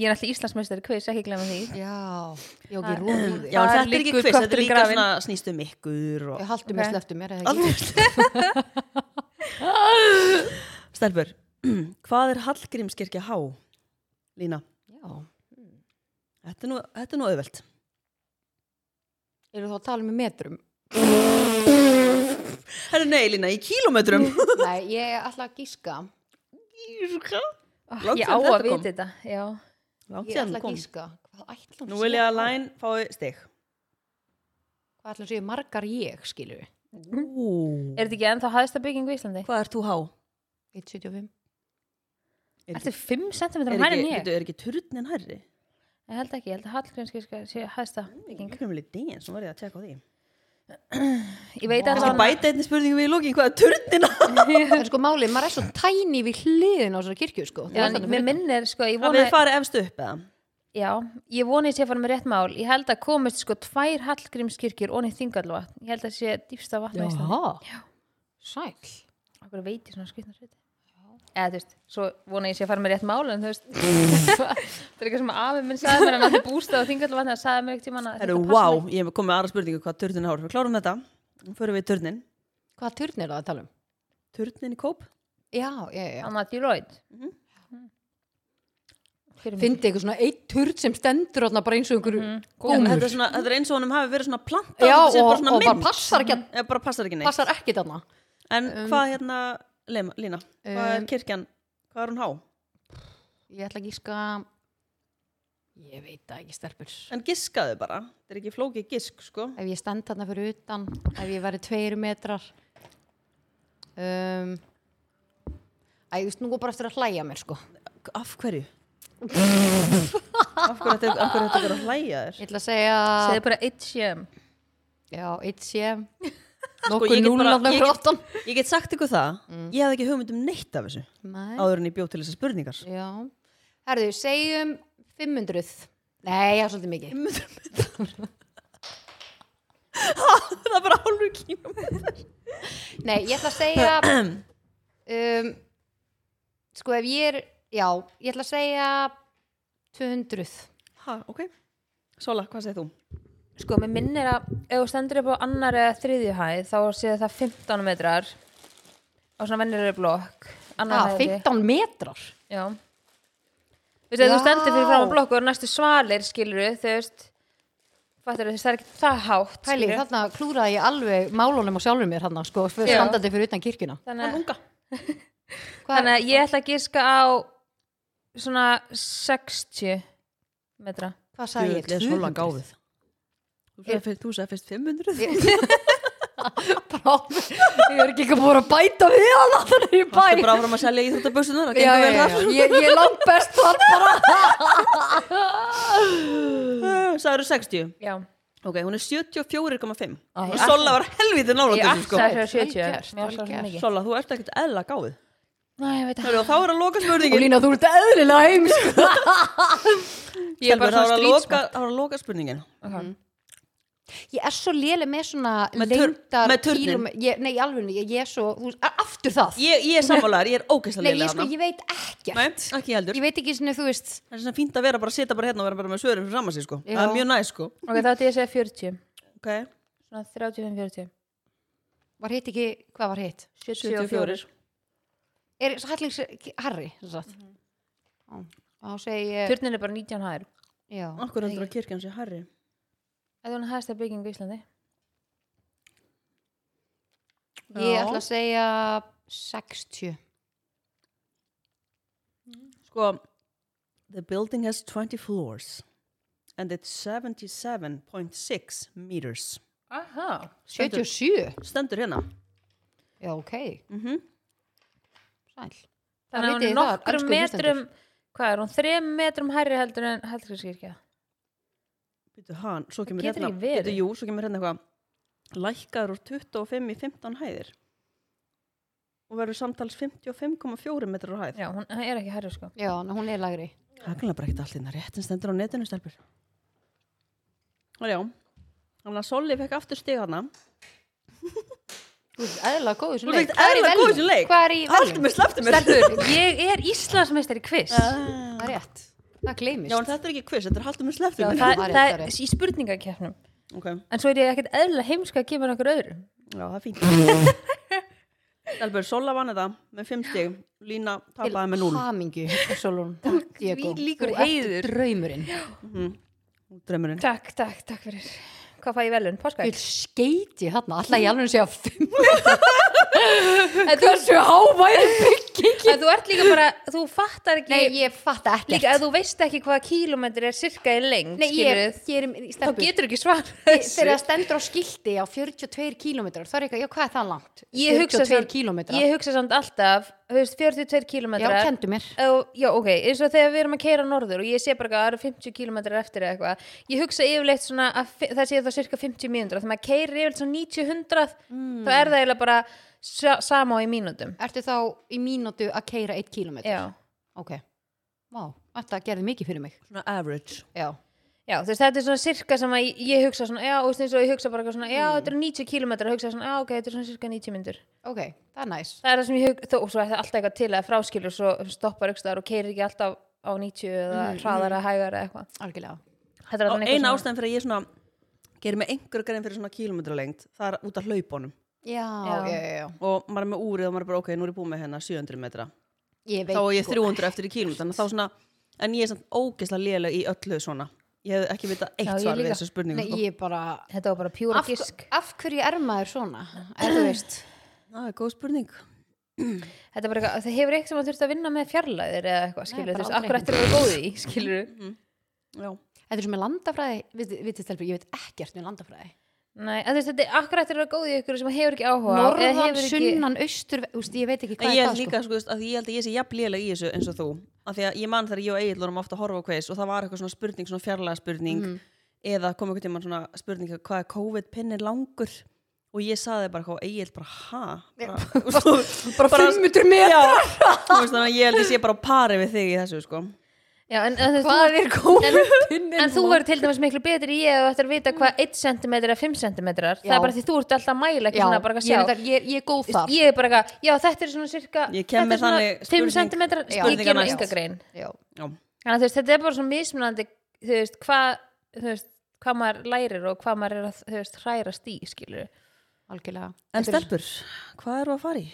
ég er alltaf Íslandsmeistari quiz, ekki glemma því Já, já, ok, Það- rúðið. Já, en Þar þetta er ekki liggur kviss, þetta er kötturinn líka grafinn. svona snýst um ykkur og... Ég haldi mér Ok. sleftu mér, eða ekki? Alveg. Stelbur, hvað er Hallgrímskirkja há? Lína, Já. þetta er nú, þetta er nú auðvelt Eru þú að tala með metrum? Herru, nei, Lína, í kílómetrum Nei, ég ætla að gíska. oh, Langt Ah, ég á síðan að þetta kom. vita þetta já. Langt Ég síðan ætla þú að kom gíska. Hvað ætla hún Nú vil ég að læn fái stig Hvað ætla hún séu margar ég, skilur við? er þetta ekki ennþá hæðsta bygging í Íslandi? Hvað er þú há? 1,75. Er Ertu 5 cm Er hærri ekki, en ég? bíddu, er ekki turnin hærri? Ég held ekki, ég held að Hallgrímskirkja sé hæðsta bygging Ég kemur líka deginn, svo var ég að tjekka á því Ég veit Kannski allavega- Ekki bæta einni spurningu við í lókin, hvað er turnin hærri? En sko málið, maður er svo tæni við hliðin á þessari kirkju, sko. Já, en mér minnir, sko, ég Það vona við farið efst upp eða? Já, ég vona ég sé að fara með rétt mál Ég held að komist sko tvær Hallgrímskirkjur og niður þingalvatn Ég held að sé dýfsta vatn á Íslandi Já. Sæl. Akkur veit ég svona skvitnar hluti Eða þú veist, svo vona ég sé að fara með rétt mál En þú veist Það er eitthvað sem afi minn sagði mér Hann átti bústað á þingalvatn Það sagði mér ekkert tímann að Herru, þetta passa wow, ég kom með aðra spurningu hvað turnin hár Við klárum þetta, Nú förum við í turnin Hvað turn er það að tala um? Turnin í kóp? Já, já, já. Anna Deloitte Fyrir mig. Fyndi eitthvað svona eitt turn sem stendur þarna bara eins og einhverju gómur. Þetta er, svona, þetta er eins og honum hafi verið svona planta þetta Já, og, sé og bara svona bara mynd. passar ekki, Eða bara passar ekki að- neitt passar ekki þarna. En hvað hérna, Lema- Lína, hvað er Um, kirkjan, hvað er hún há? Ég ætla ekki sko, ég veit það ekki stelpur. En giskaðu bara, þetta er ekki flókið gisk sko Ef ég stend þarna fyrir utan, ef ég verið tveir metrar. Um, Æ, þú veist, nú er bara eftir að hlæja mér sko. Af hverju? af hverju þetta af hverju þetta er að hlæja þér? Ég ætla að segja, Segðu bara eitt sjöum já, eitt sé, Sko, ég get nokkuð bara- núlafna ég fyrir get- aftan. Ég get sagt ykkur það, ég hafði ekki hugmynd um neitt af þessu Mm. Nei. áður en ég bjóð til þessar spurningar Já. Herðu, segjum 500. Nei, já, svolítið mikið. Það er bara hálfur kínum Nei, ég ætla að segja um, Sko ef ég er Já, ég ætla að segja 200 Ha, ok Sola, hvað segir þú? Sko, mér minnir að ef þú stendur upp á annar eða þriðju hæð þá séu það 15 metrar á svona vennirri blokk annar ah, hæði. 15 metrar Já Veistu, ef þú Já. stendur fyrir fram á blokk og eru næstu svalir skilur þú veist fattur þú veist, það er ekki það hátt Pæli, skilurðu. þarna klúraði ég alveg málunum og sjálfum mér hann sko, fyrir Já. standandi fyrir utan kirkjuna þannig, að- Hvað- þannig að ég ætla að giska á svona 60 metra Hvað sagði ég? 200 Þú sagði fyrst- Þú sagði fyrst 500 Brá, Ég er ekki ekki búin að bæta við hann Þannig er ég bæ Það er bara áfram að selja í þetta busunar Já, já, já, já. Ég, ég er langt best þar bara Sæður 60 Já, Ok, hún er 74,5 Ah, Og Sola var helvítið nála ég þessu sko ætla að fyrir 70 Vel Mér var gert, vel svo sem gert. ekki. Sola, þú ert ekkert eðla gáð Nei, ég veit að Og þá er að loka Og spurningin Lína, þú ert eðlilega sko. heimsk Ég er Stelbur, bara svona þá er strýtsmann að loka- þá er að loka spurningin Mhm. Ég er svo léleg með svona Með tur- lengdar með turninn. kílóme- ég, Nei, alveg, ég, ég er svo þú, a- Aftur það Ég, ég er sammálaðar, ég er ógeðslega Nei, ég, lélega sko, þarna. ég veit ekkert Nei, ekki ég heldur Ég veit ekki svona, þú veist Það er svona fínt að vera bara að setja bara hérna og vera bara með svörum fyrir saman sig sko Já. Það er mjög næ sko Ok, þá ætti ég að segja 40 Ok, Svona 35-40 Var hitt ekki, hvað var hitt? 74 Er Hallings Harry, sem sagt Mhm. Á, Þá segi ég Turnin er bara 19 hæður Já, Akkur heldur að kirkjan sé harri Það er hún hæðsta bygging í Íslandi ég Já. ætla að segja 60 Sko The building has 20 floors and it's 77.6 meters Aha 77? Stendur hérna Já, ok mm Mhm. -hmm. Sæl Þannig að hún vitið er þið það, nokkrum elsku hlustendur. metrum Hvað er hún? Þrem metrum hærri heldur en Hallgrímskirkja býtu hann, svo kemur getur hérna ekki verið. býtu jú, svo kemur hérna eitthvað lækkar úr 25 í 15 hæðir og verður samtals 55,4 metrar á hæð Já, hún hann er ekki hærri sko Já, ná, hún er lagri. það er kannski bara ekkert allt hérna réttin stendur á netinu stelpur og já þannig að Solli fekk aftur stig hana Þú ert eðla góð í þessum Þú ert leik. Hvað er í eðlilega góð í velnum? þessum leik. Hvað er í allt velnum? með sleftum Stelpur, ég er Íslandsmeistari í quiz Það er rétt. Það gleymist. já en þetta er ekki quiz, þetta er haldum með Já, sleftum það, það er- það það er er- í spurningakeppnum ok, En svo er ég ekkert eðla heimska að gefa nokkur öðrum já það er fínt stelpur, Solla vann þetta með 5 stig Lína tapaði með 0 Hamingu, Solon. Takk, Diego. því líkur Þú ert heiður. draumurinn. drömmurinn Takk, takk, takk fyrir Hvað fæ ég velun? Páskaegg? Þú skeiti þarna. Alltaf ég alveg að segja fimm. En þú, Þessu háværi bygging. en þú ert líka bara, þú fattar ekki Nei, ég fatt ekkert. Líka að þú veist ekki hvaða kílómetri er sirka í lengd Nei, ég, skilurðu, ég er í Þá stelpur. getur ekki svar Þegar það stendur á skilti á 42 kílómetrar, þá er eitthvað, já, hvað er það langt? Ég hugsa 42 samt- kílómetrar. Ég hugsa samt alltaf, þú veist, 42 Já, kílómetrar kendu mér. Ó, já, ok, eins og þegar við erum að keira norður og ég sé bara eitthvað að það eru 50 km eftir eða eitthvað ég hugsa yfirleitt svona að fi- það sé þá cirka 50 mínútur þegar maður keirir yfirleitt svona 90-100 þá er það eiginlega bara sa- sama og í mínútum Ertu þá í mínútu að keira 1 kílómetr? já. Ok. Vá, þetta gerði mikið fyrir mig. svona average Já. já, þú veist, þetta er svona cirka sem að ég- ég hugsa svona, já, og þú veist, eins og ég hugsa bara eitthvað svona já, þetta eru 90 km og hugsa svona, já, ok, þetta eru svona cirka 90 mínútur Ok, það er næs. það er það sem ég hugsa, og svo er það alltaf eitthvað til að fráskilur svo stoppar aukstaðar og keirir ekki alltaf á 90 eða mm, hraðar eða hægar eða eitthvað Algjörlega. Þetta er og allan eitthvað eina svona- ástæðan fyrir að ég svona gerir mig einhver grein fyrir svona kílometra lengt það er út af hlaupunum Já, Já. já, já, já. og maður er með úrið og maður er bara ok, nú er ég búin með hennar 700 metra Ég veit. þá er ég sko. 300 eftir í kílometran þá svona, en ég er samt ógeðslega léleg í öllu svona ég hef ekki vita eitt Já, ég svar við líka. þessu spurningu Nei, sko. ég bara... Þetta var bara pjúra Af, gisk af hverju er maður svona? Er þú veist? það er góð spurning Þetta er bara eitthvað, það hefur eitthvað sem að þurft að vinna með fjarlæðir eða eitthvað, skilur þú bara veist, aldrei. akkur Mm, eftir að vera góð í, skilur þú? já, Þetta er sem er landafræði, vitið viti, stelpur, ég veit ekkert með landafræði. Nei, en þú veist, þetta er akkur eftir að vera góð í ykkur sem hefur ekki áhuga á, eða Norðan, hefur ekki... sunnan, austur, þú veist, ég veit ekki en ég hvað er held það, líka, sko, þú veist, að ég held að ég sé jafn léleg í þessu eins og þú, af því að ég man þegar ég og Egil vorum ofta að horfa á kveis og það var eitthvað svona spurning, svona fjarlæga spurning Mhm. eða kom eitthvað tíma svona spurning hvað er COVID-pinn er langur og ég saði bara hvað Egil bara ha bara, bara, bara, bara 500 metrar! Þú veist þannig að ég held ég sé bara á pari við þig í þessu sko Já, en, en, þú- Hvað er en, kópinnin? en þú verður til dæmis miklu betri í ég og eftir að vita hvað 1 cm eða 5 cm er, það Mm. Já. er bara því þú ert alltaf að mæla ekki Já, svona bara eitthvað ég, er að sjá. reyndar- ég, ég er góð þar. Ég er bara eitthvað, já, þetta er svona cirka, Ég kem þetta með er svona þannig 5 spurning- cm, ég spurningar gerur næst. enga grein. Já. Já, Þannig að þú veist, þetta er bara svo mismunandi, þú veist, hvað, þú veist, hvað maður lærir og hvað maður er að, þú veist, hrærast í, skilur Algjörlega. En Þetta er- stelpur, hvað eru að fara í?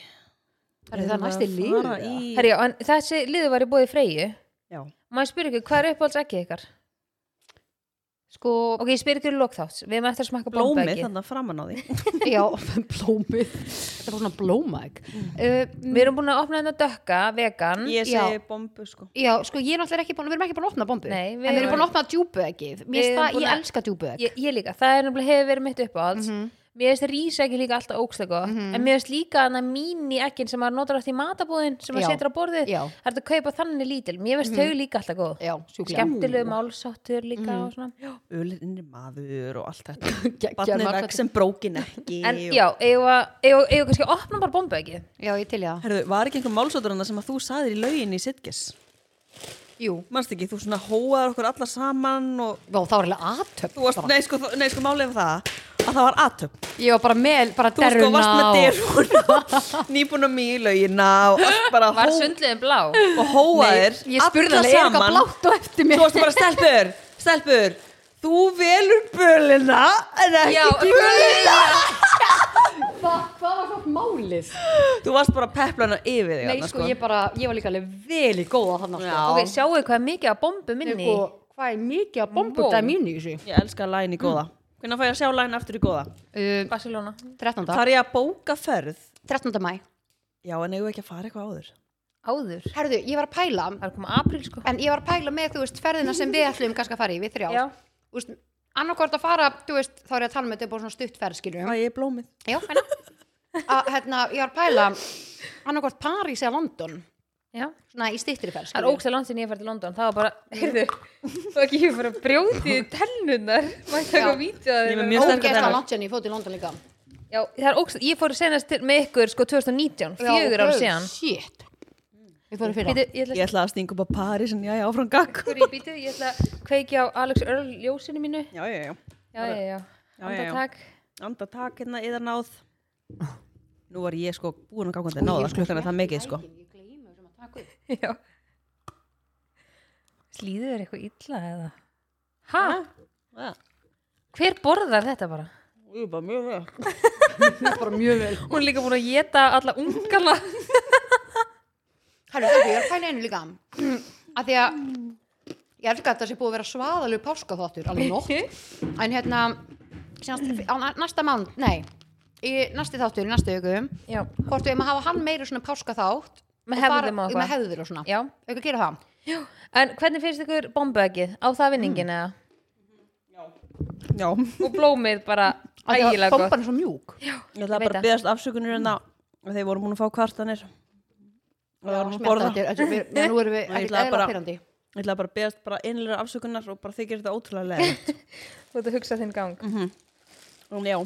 Er það Erum við næsti að liður, fara eða? í- Herjá, en þessi liðu var í bóði Freyju Já, Má ég spyr ykkur, hvað er uppáhalds ekki ykkar? Sko, Ok, ég spyr ykkur í lokþátt Við erum eftir að smakka blómið bombaeggi. þannig að framan á því já, blómið. Þetta er bara svona blómaeg. Uh, Við erum búin að opna þetta dökka, vegan Ég Já. segi bombu sko Já, sko, ég er náttúrulega ekki búin, við erum ekki búin að opna bombu. Nei, við við en við erum erum- búin að opna djúbueggið. Mér Við finnst erum það, búin ég að- elska djúbuegg. Ég, ég líka, það er nefnilega hefur verið mitt uppáhalds Mhm. Mér finnst rísa ekki líka alltaf ógstlega gott En mér finnst líka hann að mín í ekkin sem maður notar átt í matabúðin sem maður Já. setur á borðið Já. Það Mhm. er þetta að kaupa þannig lítil Mér finnst þau líka alltaf góð Já, Mhm. sjúklega. Skemmtilegu málsáttur líka og svona Ölinni maður og allt þetta Geggjað Barnið margar- vekk sem brókin ekki En og- já, eigum við- eigum eigum við kannski að opna bara bomba ekki Já, ég til ég það. Herðu, var ekki einhver málsóttur hann sem að þú saðir í laugin í sitges? Jú. Manst ekki, þú svona hóaðar okkur alla saman og Vá, það var alveg aðtöp. þú varst, nei sko, þú- nei sko málið um það að það var aðtöp Ég var bara með, bara Þú sko derruna varst með og- deruna, nýbúna mig í laugina og allt bara Var hó- sundliðin blá? og hóaðir Ég spurði hann, er eitthvað blátt á eftir mér? Þú varst bara stelpur, stelpur Þú velur bölina en ekki Já, bölina Hva, hvað var það málið? Þú varst bara peplana yfir þig Nei, þarna, sko, ég bara, ég var líka alveg vel í góða sko. þannig. Hérna, Já. Ok, sjáu hvað er mikið að bombu minni Sko, hvað er mikið að bombu Vó. það er mínu í þessu? ég elska læn í góða Hvernig fæ ég að sjá læn aftur í góða? Uh, Barcelona 13. Þar ég að bóka ferð 13. mæ. Já, en eigum við ekki að fara eitthvað áður Áður Herðu, ég var að pæla, Það er komið apríl sko en ég var að pæla með, þú veist, ferðina sem við ætlum kannski að fara í, við þrjá. Já. Þú veist, annarkvort að fara, þú veist, þá er ég að tala með þetta er bara svona stutt ferð, skiljum. Æ, ég er blómið Já, hérna. Að, hérna, ég var að pæla, annarkvort París eða London. Já. svona í stýttri fæl Það er ógst að landsin ég fær til London, það var bara, heyrðu, það ekki ég fyrir að brjóti telnunar, maður taka Já. vítja Ég er með þeirra. mjög sterkar ógeðslega tennur. langt sérna ég fótt í London líka Já, það er ógst, ég fór senast til, með ykkur sko 2019, fjögur ára síðan. shit við fórum fyrir Býtu, ég ætla Ég ætla að stinga upp á París en já, já, áfram gakk. að skurri, býtu, ég ætla að kveikja á Alex Earl ljósinu mínu. Já, já, já. Já, já, já, já, já. andartak. Andatak hérna yðar náð. Nú var ég sko búin að gangandi náða klukkan er það mikið sko. Já. Slíður þér eitthvað illa eða? Ha? Já, Hver borðar þetta bara? ég bara mjög vel. bara mjög vel Hún er líka búin að geta alla ungana. Hæru, ok, ég er að pæla í einu líka að því að ég elska að þetta sé búið að vera svaðalug páskaþáttur alveg nótt en hérna sínast, á na- næsta mánd, nei í næsti þáttur, í næstu augum Já, hvort við erum að hafa hann meira svona páskaþátt Með og bara- hefðum og eitthvað. með hefðum og svona, já. auðvitað gera það En hvernig finnst ykkur bombueggið á það vinningin eða? Já, Og blómið bara að því að ægilega gott. bomban er svo mjúk ég ætla Veit bara það. að beðast afsökunir en að þeir voru múin að fá kvartanir. Og það Já, vorum að smelta borða. þetta er- þetta er- við- já, nú erum við Ég ekkert ætla eðla bara- pyrrandi Ég ætla bara að beðast bara einlega afsökunar og bara þykir þetta ótrúlega leðilegt. Þú ert að hugsa þinn gang. En já,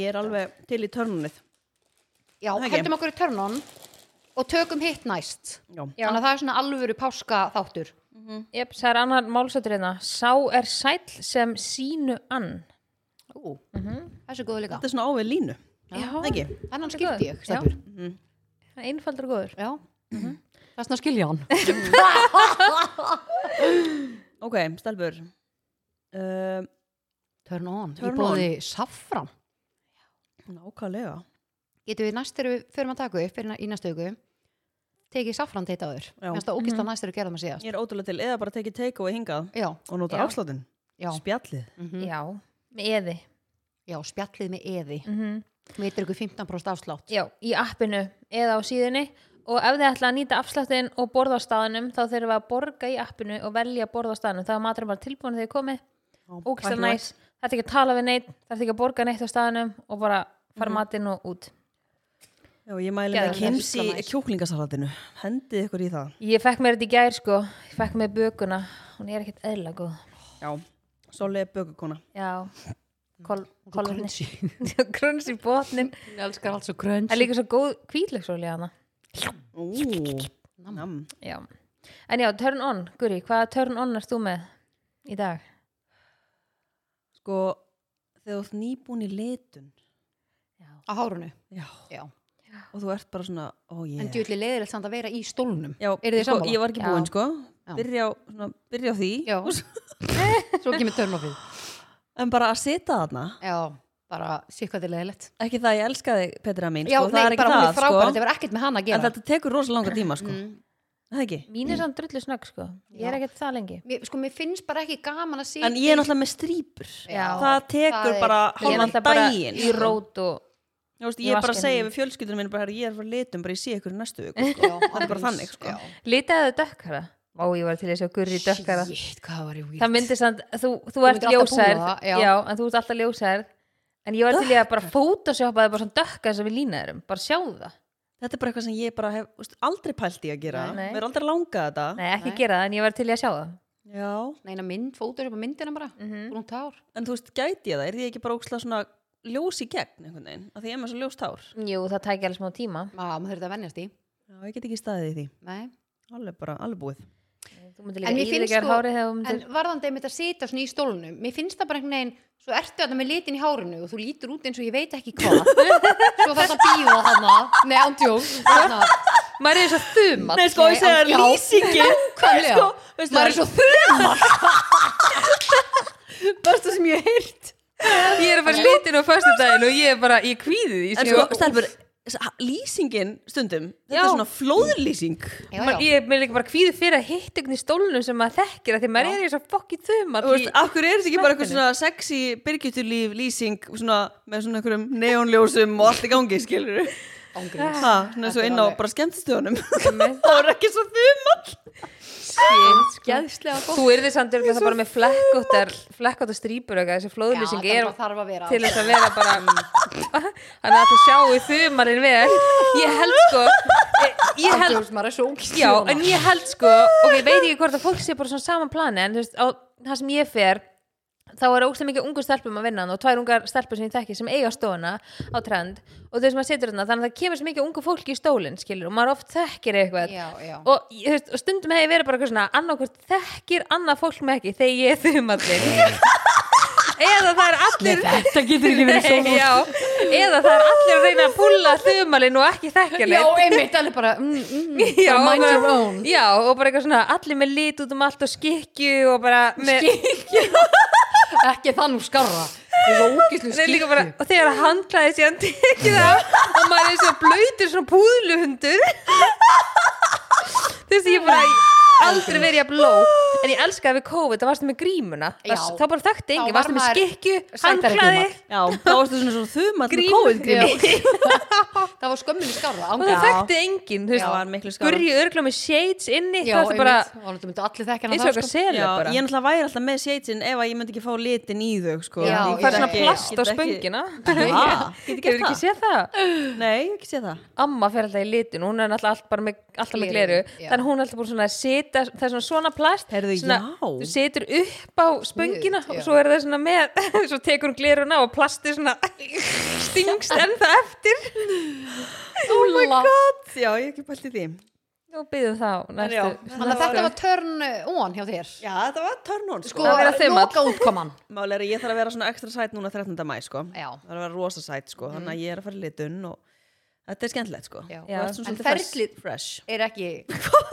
ég er alveg til í törnunnið. já, Það ekki. hendum okkur í törnun og tökum hitt næst Já. Já. þannig að það er svona alvöru páskaþáttur Jep, það er annar málsættur hérna. Sá er sæll sem sínu ann. Ú, þessi er góð líka Þetta er svona áveg línu, Já. það ekki? Þannig Þetta Mhm. er skildi góð. ég, stelpur. Einfaldur og góður. Já. Mhm. Það er svona skilja hann. Ok, stelpur. Um, Turn on. Turn Turn í bóði saffram. nákvæmlega. Getum við næst þegar við förum að taka upp fyrir, í næstu auku, tekið saffram þetta aður. Já. Mhm. Mér finnst það ógist að næst þegar við gerðum að síðast. Ég er ótrúlega til eða bara tekið take away hingað Já, og nota Já. afslátinn, já, spjallið. Mm-hmm. Já, með eði. já, spjallið með eði. Mm Mhm. Við erum ykkur 15% afslátt. Já, í appinu eða á síðunni og ef þið ætla að nýta afsláttinn og borða á staðanum þá þurfum við að borga í appinu og velja að borða á staðanum. Það er maturinn bara tilbúin þegar þið komið. Ógislega næs. Það er ekki að tala við neitt, það er ekki að borga neitt á staðanum og bara fara matinn og út. Já, ég mæli Geðveikt. með kims í Ógeðslega næs. kjúklingasalatinu. Hendið ykkur í það. Ég fekk mér þetta í gær sko, ég fekk mér bökuna, hún er ekkert eðla góð. Já. Svolítið bökukona. Já, kol, kolvetni. Crunchy. Grunns í botnin. Hún elskar allt svo grunch. Það er líka svo góð kvíðlegsóli hana. Ú, nam. Já. En já, turn on, Guri, hvaða turn on erst þú með í dag? Sko, þegar þú ert nýbúin í litun Á hárunu. Já. Já. og þú ert bara svona, ó oh, En yeah. djúðli leiðilegt samt að vera í stólnum. Já, Eruð þið sko, sammála? ég var ekki Já. búin, sko. Já. Byrja á, svona, byrja á því. Já. Svo kemur turn offið. En bara að sita þarna. Já, bara sé hvað þið er leiðilegt. Ekki það að ég elska þig, Petra mín, Já, sko. það er nei, ekki bara hún er það, frábært. Það sko. var ekkert með hann að En gera. þetta tekur rosa langa tíma, sko. Mm. Það ekki? Mín er samt drullu snögg sko, ég er ekkert það lengi. Mér, sko, mér finnst bara ekki gaman að sitja En ég er náttúrulega með strýpur. Já. það tekur Það er- bara Ég Ég er er hálfan alltaf bara daginn. í rót og... Þú veist, í ég er bara að vaskinum. segja við fjölskyldunum minn bara, herra, ég er frá litum, bara ég sé ykkur í næstu viku. Sko. Já, Það er bara eins, þannig, sko. já. Litaðu dökkara? Vá, ég var til þess að Guri dökkara. Shit, hvað það var ég Það myndi samt, þú, þú, ert myndir alltaf ljósærð, búa það, já. já. en þú ert alltaf ljósærð, en ég var til í að bara fótosjópa það bara svona dökka þess að við línaðurum, bara sjáðu það. Þetta er bara eitthvað sem ég bara hef úst, aldrei pælt í að gera. Nei. Mér er aldrei langað þetta. Nei, ekki Nei. gera það, en ég var til í að sjá það. Já, Neina mynd, fótur upp á myndina bara Brúnt hár en þú veist, gæti ég það? Er því ekki bara ókslega svona ljós í gegn einhvern veginn? Af því ég er með svo ljóst hár. Jú, það tækja alveg smá tíma. Má, maður þurfti að vennjast í Já, ég get ekki staðið í því. Nei. Alveg bara, alveg búið. Þú myndir líka En mér finnst íðrikar sko- hárið þegar þú En myndir... varðandi einmitt að sita svona í stólunum Mér finnst það bara einhvern veginn Svo ertu þetta með litin í hárinu og þú lítur út eins og ég veit ekki hvað Svo þarf það bíða þarna Nei, ándjó Maður er svo þumall. Nei, sko, ég segja þér lýsingin. Nákvæmlega. Sko, veistu, Maður er svo besta sem ég heirt. Ég er bara litin á föstudaginn og ég er bara, ég kvíði því, En sko. sko, stelpur, s- ha- lýsingin stundum, þetta Já. er svona flóðlýsing. Man, þurr ég er mér líka bara kvíði fyrir að hitta einhvern í stólnum sem maður þekkir að því maður er í svo fokki þumall Þú í- veist, af hverju er þetta ekki bara eitthvað smekkinu? svona sexy byrgjutulíf lýsing svona, með svona einhverjum neónljósum og allt í gangi, skilur við? Ángríns Svona svo Þetta er inn á alveg- bara skemmtistöðunum. það var ekki svo þumall. Gæðslega góð sko. Þú yrðir samt örgulega bara með flekkóttar flekkóttar strýpur eitthvað, þessi flóðlýsing Já, er þetta þarf að vera. til þess að vera mm, bara þannig að það sjáu þumalinn vel ég held sko ég, ég held Andjóðs maður er svo ógist Já, en ég held sko og ég veit ekki hvort að fólk sé bara svona saman plani en þú veist, á það sem ég fer þá er ógstlega mikið ungu stelpum að vinna þarna og tvær ungar stelpur sem ég þekki sem eiga stofuna á trend og þau sem að situr þarna þannig að það kemur svo mikið ungu fólki í stólinn skilur og maður oft þekkir eitthvað Já, já. og, ég- þú veist, og stundum hefði verið bara eitthvað svona annarkvort þekkir annað fólk með ekki þegar ég er þum allir eða það er allir Þetta getur ekki verið Nei, sól já, eða það er allir að reyna að pulla þumalinn og ekki þekkja Já, neitt einmitt, alveg bara mm, mm, já, bara Mind bara- your own já, og bara eitthvað svona allir með lit út um allt og skikju og bara með, Ekki þannig skarra Það er svo ógislu Nei, líka skikku bara, og þegar að handlaði síðan tekið af og maður er svo blöytur svona púðluhundur þú veist ég bara aldrei verið að bló en ég elskaði við COVID, það varstu með grímuna Já. það, þá bara þekkti Þá engin, var varstu með maður skikju sætari handlaði grímar. Já, þá varstu svona svona þumall með Grímur. COVID grími. Það var skömminu skarra og ángrið það þekkti engin þú Já, var miklu veist, skárra. gurri örgla með shades inni Já, það einmitt, er bara, og það myndi allir þekka eins hana og það eitthvað sko selja Já, bara ég náttúrulega væri alltaf með seitin ef að ég myndi ekki fá litin í þau sko. Já, Ég Það er get svona ekki- plast get á ekki- spöngina Ha? Hefur ekki séð það? Nei, ég hef ekki sé það Amma fer alltaf í litin, hún er alltaf, alltaf bara með, alltaf með gleru Gleru, já. Þannig hún er alltaf búin svona að sita Það er svona svona plast Heyrðu, svona, já. Þú situr upp á spöngina Sniðugt, já. Og svo er það svona með Svo tekur hún gleruna og plasti svona Stingst ennþá eftir Oh my god Já, ég hef ekki pælt í því Og byggðum þá En já. næstu Þannig að þetta var turn on hjá þér Já, þetta var törnón Sko, sko. Það var að þeim all. loka útkoman Máli er að ég þarf að vera svona ekstra sæt núna 13. mæ sko. Já. Mm. Það er að vera rosa sæt sko. Þannig að ég er að fara í litun og þetta er skemmtilegt sko. Já. Þú ert svona En svolítið fresh- ferlið- fresh Er ekki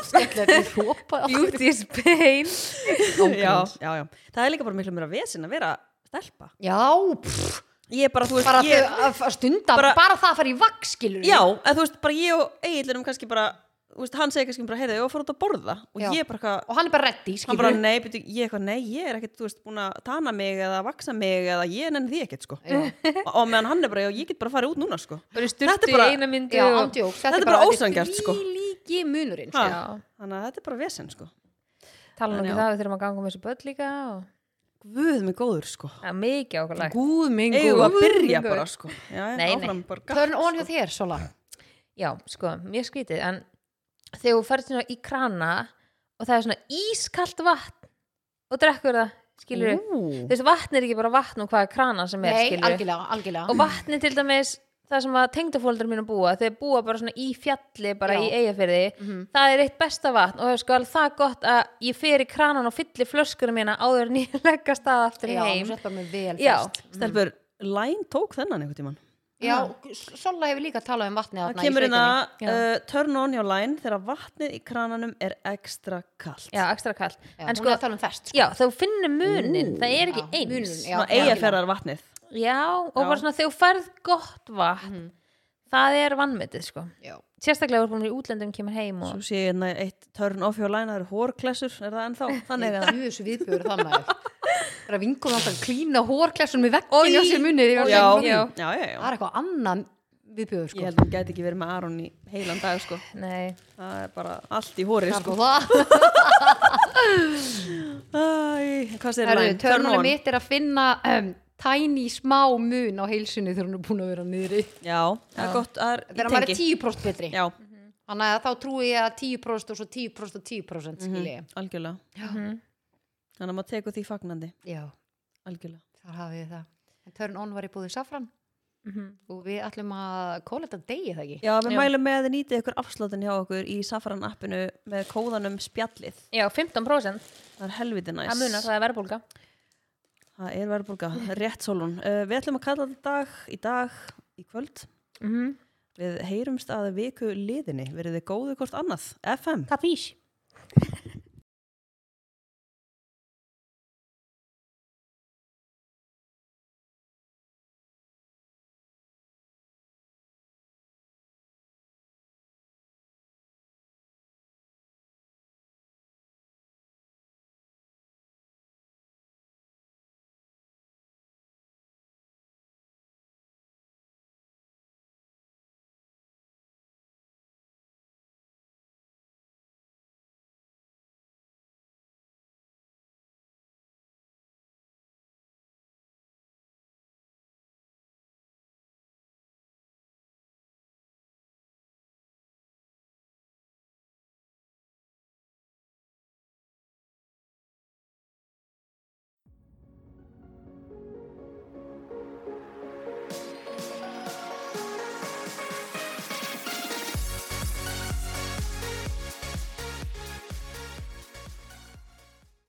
Skemmtilegt að hrópa Beauty is pain já, já, já. Það er líka bara miklu mér að vesin að vera stelpa Já, pff, Ég er bara, þú veist, bara ég, þau að að stunda Bara- Bara það að fara í vakskilur Já, en þú veist, bara ég og Egilunum kannski bara, þú veist, hann segir kannski bara, heyrðu, ég var að fara út að borða og Já. ég bara eitthvað, Og hann er bara reddi, hann bara, skilur nei, byrju, ég eitthvað, nei, ég er ekkert, þú veist, búin að tana mig eða vaksa mig eða ég nenni því ekkert, sko og, og meðan hann er bara, já, ég get bara að fara út núna, sko Bara í Þetta sturtu er í bara- eina myndi Já, og- andjóks Þetta er bara ósanngjarnt, sko. Þetta er líki munurinn Ha. sko. Já. Þannig að þetta er bara vesen, sko Tala nú En ekki já. það, við þurfum að ganga með þessu börn líka og- Guð mig góður, sko Það er mikið ákvæmlega Gúð minn Eigum við að byrja Guð. bara, sko Já, Nei, já, nei. áfram bara gatt, Turn on hjá sko. þér, Sola Já, sko, mjög skrítið en þegar þú ferð svona í krana og það er svona ískalt vatn og drekkur það, skilur við Ú. þessi vatn er ekki bara vatn og hvaða krana sem er, Nei, skilur algjörlega, algjörlega og vatni til dæmis það sem að tengdafóldar mínu búa þeir búa bara svona í fjalli bara Já. í eigafyrði Mhm. það er eitt besta vatn og það er sko alveg það gott að ég fer í kranan og fyllir flöskunum mína áður en ég leggja stað aftur Já, heim þú settar mig vel Já, fyrst Stelpur, Mm. Line tók þennan einhvern tímann Já, Sola hefur líka talað um vatnið Það þarna í kemur inn sveitinni. að uh, turn on hjá line þegar vatnið í krananum er ekstra kallt. já, ekstra kall en Já, hún sko, er að tala um fest sko. já, þú finnir munin það er ekki Já, eins munurinn, já, Svona algjörlega. eigafærar vatnið. Já, og bara svona þegar þú færð gott vatn það er vannmetið sko Já. sérstaklega voru búin í útlöndum kemur heim og Svo sé ég hérna eitt turn off hjá line, það eru hórklessur, er það ennþá? Þannig Ég að er þessu viðbjör það maður Það er að vingur alltaf að klína hórklessun með vekkinu á Oj. sér munir Oj. yfir já, allan já, Já. munn. já, já, Það er eitthvað annan viðbjör Ég sko. held að hún gæti ekki verið með Aron í heilan dag, sko. nei, Það er bara allt í hóri, Það sko. er það. Æ, hvað segir Herru, line? törnunum mitt er að finna um, tæni smá mun á heilsunni þegar hún er búin að vera niðri Já, það er gott, það er í Þegar maður er tengi. 10% betri Já, Þannig að þá trúi ég að 10% og svo 10% og 10% skilji Mhm. mm Mhm, algjörlega. Já. Þannig að maður tekur því fagnandi, Já, algjörlega. þar hafið þið það En Turn On var í búið Safran mm og við ætlum að kóla þetta degi það ekki Já, við mælum með að þið nýtið ykkur afsláttinn hjá okkur í Safran appinu með kóðanum spjallið. já, 15% Það er helviti næs. það munar, það er verðbólga Það er verðbólga, rétt sólun. Uh, við ætlum að kalla þetta dag í dag, í kvöld. mm -hmm. Við heyrumst að viku liðinni. Verið þið góðu hvort annað. FM. kapís